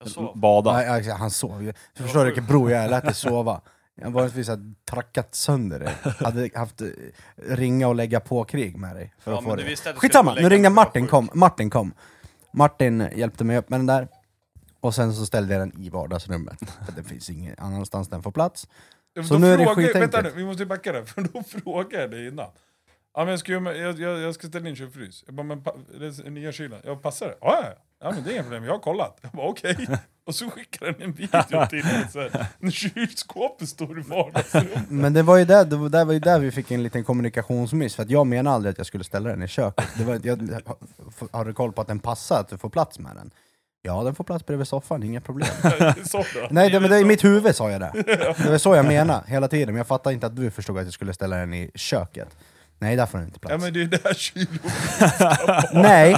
B: Jag
A: *laughs*
B: sov.
A: Bada.
C: Nej, alltså, han sov ju. Du förstår du vilken bro jag är? Lät dig sova. Jag vanligtvis hade trackat sönder dig. Hade haft eh, ringa och lägga på-krig med dig. För
B: Ja,
C: att
B: men
C: få
B: du
C: det.
B: visste att du skulle
C: Skitsamma,
B: få
C: nu
B: lägga
C: ringde
B: dig för att
C: Martin
B: vara
C: kom. Martin kom. Martin hjälpte mig upp med den där. Och sen så ställde jag den i vardagsrummet. För det finns ingen annanstans den får plats. Så
D: Då
C: nu är det
D: frågar-
C: skitenkelt.
D: Vänta nu, vi måste ju backa där, *laughs* för då frågade jag dig innan. Ja, men jag, ska, ju med- jag, jag, jag ska ställa in kylfrys. Jag bara, men pa, det är nya kylen. Jag bara, passar det? Ja, ja. ja, men det är inga problem, jag har kollat. Jag bara, okej. Och så skickar den en video till mig, så här, när kylskåpet står i vardagsrummet.
C: Men det var ju där, det var där, var ju där vi fick en liten kommunikationsmiss, för att jag menade aldrig att jag skulle ställa den i köket. Det var, jag, har du koll på att den passar, att du får plats med den? Ja, den får plats bredvid soffan, inga
D: *laughs*
C: problem.
D: Så då.
C: Nej, det, men det, i mitt huvud sa jag det. Det var så jag menade hela tiden, men jag fattade inte att du förstod att jag skulle ställa den i köket. Nej, där får den inte plats.
D: Ja, men det är där kylen...
C: Nej!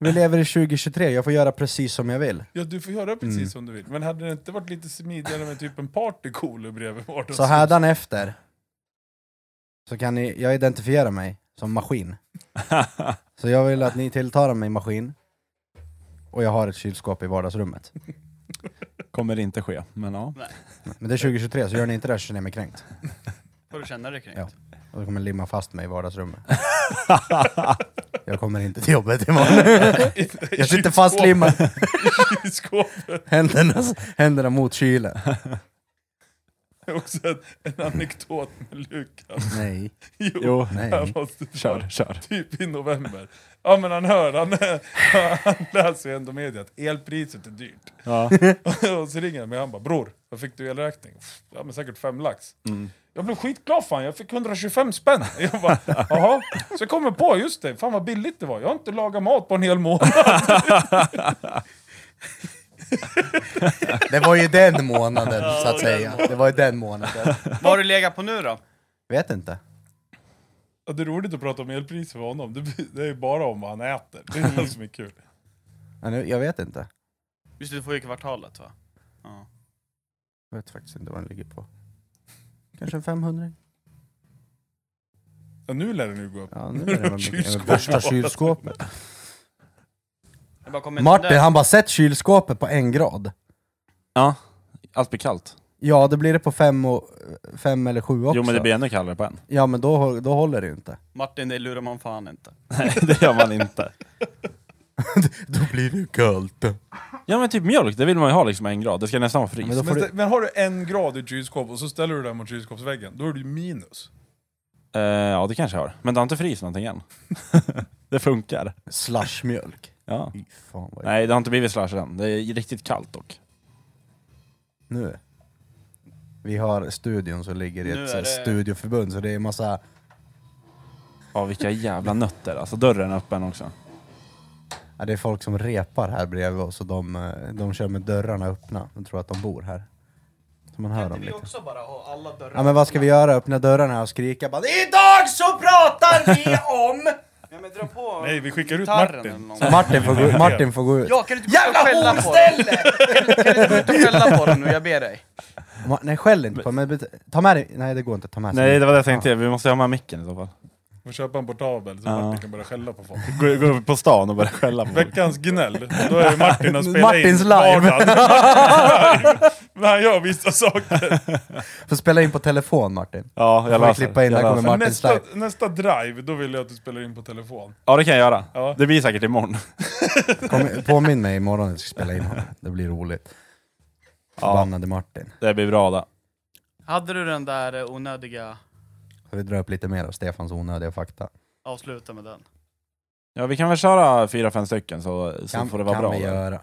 C: Vi lever i 2023, jag får göra precis som jag vill.
D: Ja, du får göra precis som du vill. Men hade det inte varit lite smidigare med typ en partycooler bredvid vardagsrummet?
C: Så hädanefter så kan ni, jag identifiera mig som maskin. Så jag vill att ni tilltalar mig maskin och jag har ett kylskåp i vardagsrummet.
A: Kommer inte ske, men ja.
C: Men det är 2023, så gör ni inte det så känner jag mig kränkt.
B: Får du känna dig kränkt?
C: Ja. Och då kommer ni limma fast mig i vardagsrummet. Jag kommer inte till jobbet imorgon. Jag sitter fastlimmad,
D: Kylskåpet
C: händerna, händerna mot kylen.
D: är *laughs* också en, en anekdot med Lukas.
C: Nej.
D: Jo,
A: Jo,
D: jag
C: Nej.
D: måste dra
A: kör, kör.
D: typ i november. Ja men han hör, han, *laughs* han läser ju ändå media att elpriset är dyrt. *laughs*
A: Ja.
D: Och så ringer han mig och han bara bror, vad fick du i elräkning? Ja men säkert fem lax.
A: Mm.
D: Jag blev skitglad fan, jag fick 125 spänn. *laughs* Jag bara, jaha. Så jag kommer på, just det, fan vad billigt det var. Jag har inte lagat mat på en hel månad.
C: Det var ju den månaden, så att säga. Det var ju den månaden.
B: Vad har du legat på nu då?
C: Vet inte.
D: Ja, Det är roligt att prata om elpriser för honom, det, det är ju bara om vad han äter. Det är det som är kul.
C: Ja, nu- Jag vet inte.
B: Just det, du får ju kvartalet va?
C: Jag vet faktiskt inte vad den ligger på. Kanske en 500?
D: Ja, nu lär det nu gå upp.
C: Ja, nu är det
D: Kylskåp.
C: med värsta kylskåpet.
B: Jag bara kommer inte
C: Martin,
B: där.
C: han bara sett kylskåpet på en grad.
A: ja, allt blir kallt.
C: Ja, det blir det på fem, och, fem eller sju också.
A: Jo men det blir ännu kallare på en.
C: Ja, men då, då håller det ju inte.
B: Martin, det lurar man fan inte.
A: *laughs* Nej, det gör man inte.
C: Då blir det kallt.
A: Ja men typ mjölk, det vill man ju ha liksom en grad. Det ska nästan vara fryst.
C: Men då får
D: Men,
C: du...
D: stä- men har du en grad i kylskåp och så ställer du den mot kylskåpsväggen, då är det ju minus.
A: Eh, ja det kanske jag har. Men det har inte fryst någonting än. *laughs* det funkar.
C: Slushmjölk.
A: Ja.
C: Fy fan vad
A: Nej det har inte blivit slash än. Det är riktigt kallt dock.
C: Nu. Vi har studion som ligger
B: Nu
C: i ett
B: är
C: så här
B: det-
C: studioförbund, så det är massa...
A: Ja vilka jävla nötter alltså. Dörren är öppen också.
C: Ja, det är folk som repar här bredvid oss och de, eh, de kör med dörrarna öppna. De tror att de bor här. Så man hör
B: Kan
C: dem
B: inte vi
C: lite.
B: också bara ha alla dörrar
C: Ja men vad ska vi göra? Öppna dörrarna och skrika bara
B: *laughs*
E: Idag så pratar vi om...
B: Ja, men dra på
D: Nej, vi skickar ut
B: gitarren
D: Martin.
B: eller något.
C: Martin får, gå, Martin får gå ut.
B: Ja, kan du inte
E: Jävla
B: Jävla skälla på den?
E: horställe!
B: Kan du inte skälla på den nu? Jag ber dig.
C: Ma- Nej skäll inte på mig. men bet- Ta med dig. Nej det går inte att ta med sig.
A: Nej det var det jag tänkte, vi måste ha med micken i så fall.
D: Och köpa en portabel så Martin kan börja skälla på folk.
A: Gå, gå upp på stan och börja skälla på folk.
D: Veckans gnäll, då är det Martin och spelar
C: Martins
D: in
C: live.
D: vardagen. *laughs* Martins live! Men han gör vissa saker.
C: Får spela in på telefon Martin.
A: Ja jag
C: Får vi
A: löser
C: klippa in,
A: jag
C: där kommer
A: löser.
C: Martins
D: Nästa,
C: live.
D: nästa drive, då vill jag att du spelar in på telefon.
A: Ja det kan jag göra.
D: Ja.
A: Det blir säkert imorgon.
C: Kom, påminn mig imorgon när jag ska spela in honom. Det blir roligt. Förbannade Martin.
A: *laughs* Det blir bra det.
B: Hade du den där eh, onödiga...
C: Ska vi dra upp lite mer av Stefans onödiga fakta?
B: Avsluta med den.
A: Ja vi kan väl köra fyra, fem stycken så, så
C: Kan,
A: får det vara
C: kan
A: bra.
C: vi
A: då.
C: göra.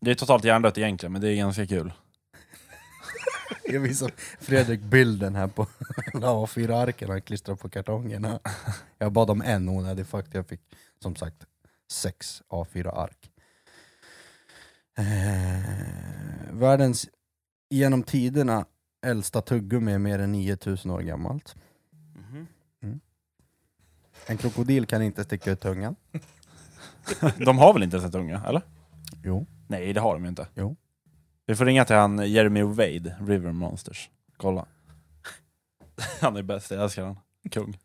A: Det är totalt hjärndött egentligen men det är ganska kul. *laughs*
C: Jag visar Fredrik bilden här på *laughs* A4-arken han klistrar på kartongerna. Jag bad om en onödig fakta, jag fick som sagt sex A4-ark. Eh, världens genom tiderna äldsta tuggummi är mer än 9000 år gammalt. Mm.
B: Mhm.
C: En krokodil kan inte sticka ut tungan.
A: De har väl inte ens ett unga, eller?
C: Jo.
A: Nej, det har de ju inte.
C: Jo.
A: Vi får ringa till han Jeremy Wade, River Monsters. Kolla. *laughs* Han är bäst, jag älskar han. Kung.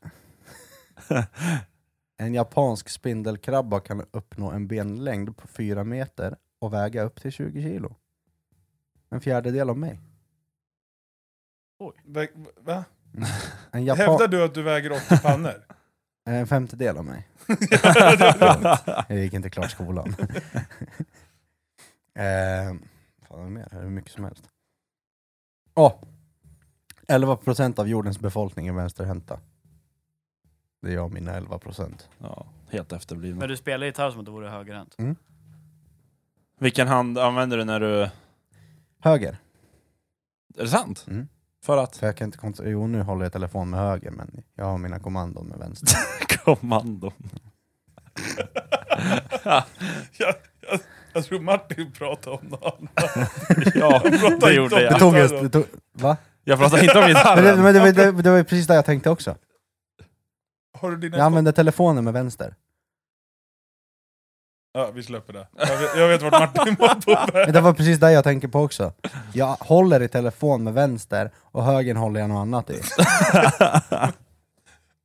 C: En japansk spindelkrabba kan uppnå en benlängd på 4 meter och väga upp till 20 kilo. En fjärdedel av mig.
D: Vä- Va?
C: En,
D: Hävdar
C: japan-
D: du att du väger 80 pannor? *laughs*
C: en femtedel av mig. Jag gick inte klart skolan. eh, fan, vad mer? Det är hur mycket som helst. Åh! 11% av jordens befolkning är vänsterhänta. Det är jag och mina 11%.
A: Ja, helt efterblivna.
F: Men du spelar gitarr som att du vore högerhänt.
A: Vilken hand använder du när du... Är
C: Höger.
A: det sant?
C: Mm.
A: För att? *laughs*
C: För jag kan inte kont- jo, nu håller jag telefon med höger, men jag har mina kommandon med vänster.
A: Kommando.
D: jag, jag, jag tror Martin pratade om något annat.
A: Ja, det
C: *laughs*
A: gjorde
C: Det
A: jag.
C: tog just... Det tog, va?
A: Jag pratar inte om
C: Men det,
A: gitarren.
C: *laughs* men det, var- det, det var ju precis det jag tänkte också.
D: Har du dina
C: Jag använder telefonen med vänster.
D: Ja, vi släpper det. Jag vet, jag vet vart Martin var på väg.
C: Men det var precis det jag tänker på också. Jag håller i telefon med vänster och högern håller jag något annat i.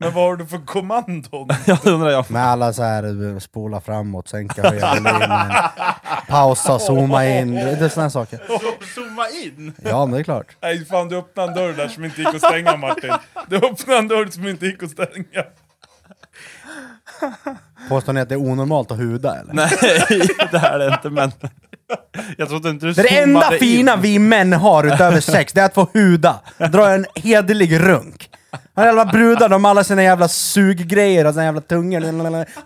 D: Men vad har du för kommandon?
A: Jag undrar jag.
C: Med alla så här eh, spola framåt, sänka, höja volymen, pausa, zooma in, det är sådana saker.
A: Zooma in!
C: Ja men det är klart.
D: Nej fan, du öppnade en dörr där som inte gick att stänga Martin. Du öppnade en dörr som inte gick att stänga.
C: Påstår ni att det är onormalt att huda eller?
A: Nej, *laughs* det här är det inte men... Jag trodde inte du
C: Det, är det enda
A: zoomade in.
C: fina vi män har utöver sex, det är att få huda. Dra en hederlig runk. Han jävla brudar, de har alla sina jävla suggrejer och sina jävla tungor.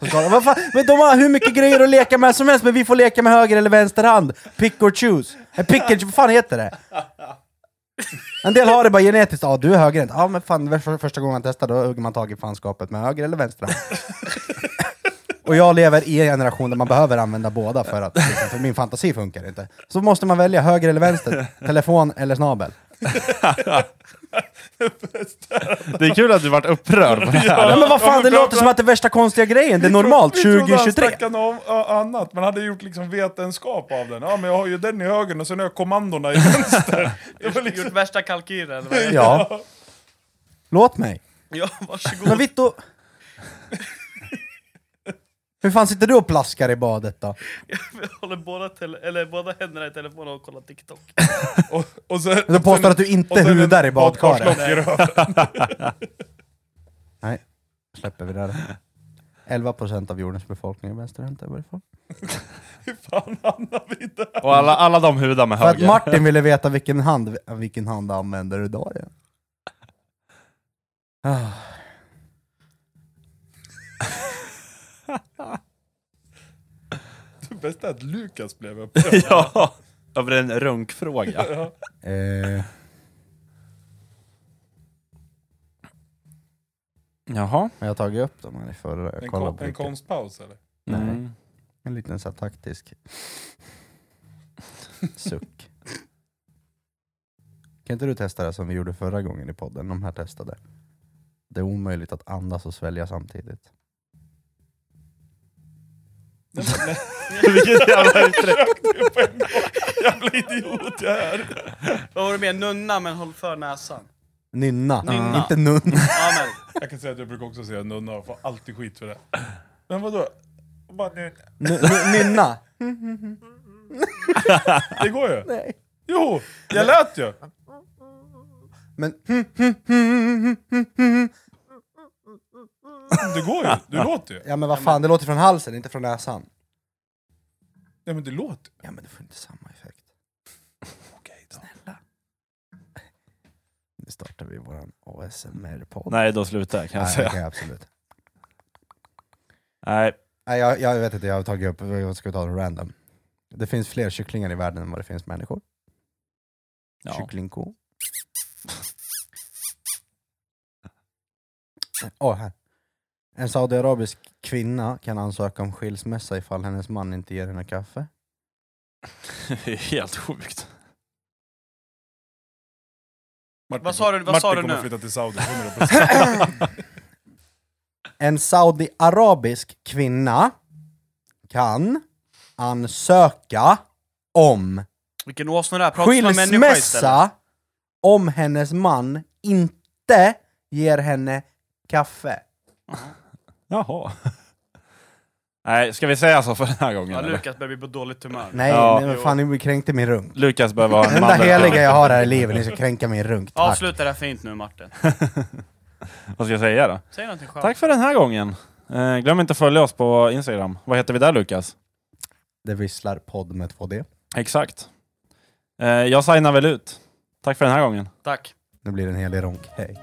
C: Så ska de- Vad fan? Men de har hur mycket grejer att leka med som helst, men vi får leka med höger eller vänster hand. Pick or choose. Eh, Pick and, vad fan heter det? En del har det bara genetiskt, ja du är högerhänt. Ja men fan, det var första gången man testar då hugger man tag i fanskapet med höger eller vänster hand. Och jag lever i en generation där man behöver använda båda för att liksom, för min fantasi funkar inte. Så måste man välja höger eller vänster, telefon eller snabel.
A: Det är kul att du vart upprörd på det *laughs* här.
C: Ja, men vad fan,
D: men
C: det
D: bra,
C: låter
D: bra.
C: som att det är värsta konstiga grejen, det är normalt
D: *laughs* Vi trodde han
C: 2023.
D: snackade om ja, annat, men hade gjort liksom vetenskap av den. Ja, men jag har ju den i höger och sen har jag kommandona i vänster. *laughs* Det var liksom...
B: Gjort värsta kalkylen. eller vad?
C: Ja. Låt mig.
B: Ja, varsågod.
C: Men Vitto... Hur fan sitter du och plaskar i badet då?
B: Jag håller båda, tele- eller båda händerna i telefonen och kollar TikTok.
D: Och, och sen,
C: Du påstår att du
D: och
C: inte
D: sen en
C: hudar i badkaret.
D: badkarslock i röven.
C: Nej, släpper vi det här. 11% av jordens befolkning är vänsterhänta i varje fall.
D: Hur fan hamnar vi där?
A: Och alla, alla de hudar med
C: För att
A: höger.
C: Martin ville veta vilken hand, vilken hand använder du idag igen. Ah.
D: Det bästa är att Lukas blev upprörd.
A: *laughs* Ja, över en runkfråga.
C: Eh,
A: Jaha.
C: jag har tagit upp dem här i förra. Jag
D: En,
C: kollar
D: kon,
C: på
D: en
C: vilken-
D: konstpaus eller?
C: Nej.
A: Mm.
C: En liten så här taktisk suck. Kan inte du testa det som vi gjorde förra gången i podden? De här testade. Det är omöjligt att andas och svälja samtidigt.
D: Nej, men, nej.
A: Vilket jävla uttryck.
D: Jävla idiot jag är!
B: Vad var det mer? Nunna men håll för näsan.
C: Nynna,
B: Nynna.
C: inte nunna.
B: Ja, men.
D: Jag kan säga att jag brukar också säga nunna och får alltid skit för det. Men vadå? Bara, nu-
C: N- n- *laughs* nynna.
D: det går ju! Nej. Jo! Jag lät ju!
C: Men
D: Det går ju! Du låter ju!
C: *laughs* Ja men vad fan, det låter från halsen, inte från näsan.
D: Ja men det låter
C: Ja men det får inte samma effekt. *laughs*
D: Okej då.
C: Nu startar vi våran ASMR-podd.
A: Nej, då slutar jag kan jag
C: Nej, det
A: säga.
C: kan jag absolut.
A: Nej,
C: Nej jag, jag vet inte, jag har tagit upp, jag ska ta det random. Det finns fler kycklingar i världen än vad det finns människor.
A: ja.
C: Kycklingko. Åh, här. En saudiarabisk kvinna kan ansöka om skilsmässa ifall hennes man inte ger henne kaffe.
A: *laughs* Det är helt sjukt.
D: Martin,
B: Vad sa du- vad
D: Martin
B: sa du
D: kommer
B: nu?
D: flytta till Saudi, 100%.
C: En saudiarabisk kvinna kan ansöka om
B: Vilken åsna det är, prata som en människa istället.
C: skilsmässa om hennes man inte ger henne kaffe.
A: Jaha. Nej, ska vi säga så för den här gången?
B: Ja,
A: eller?
B: Lukas börjar bli på dåligt humör.
C: Nej,
A: Ja.
C: men fan ni kränkte min runk.
A: Lukas behöver ha
C: Det
A: en
C: enda
A: mandel.
C: heliga jag har här i livet, ni ska kränka min runk. Tack.
B: Avsluta det här fint nu Martin.
A: *laughs* Vad ska jag säga då?
B: Säg någonting skönt.
A: Tack för den här gången. Eh, glöm inte att följa oss på Instagram. Vad heter vi där Lukas?
C: Det visslar podd med 2D.
A: Exakt. Eh, jag signar väl ut. Tack för den här gången.
B: Tack.
C: Nu blir det en helig runk. Hej.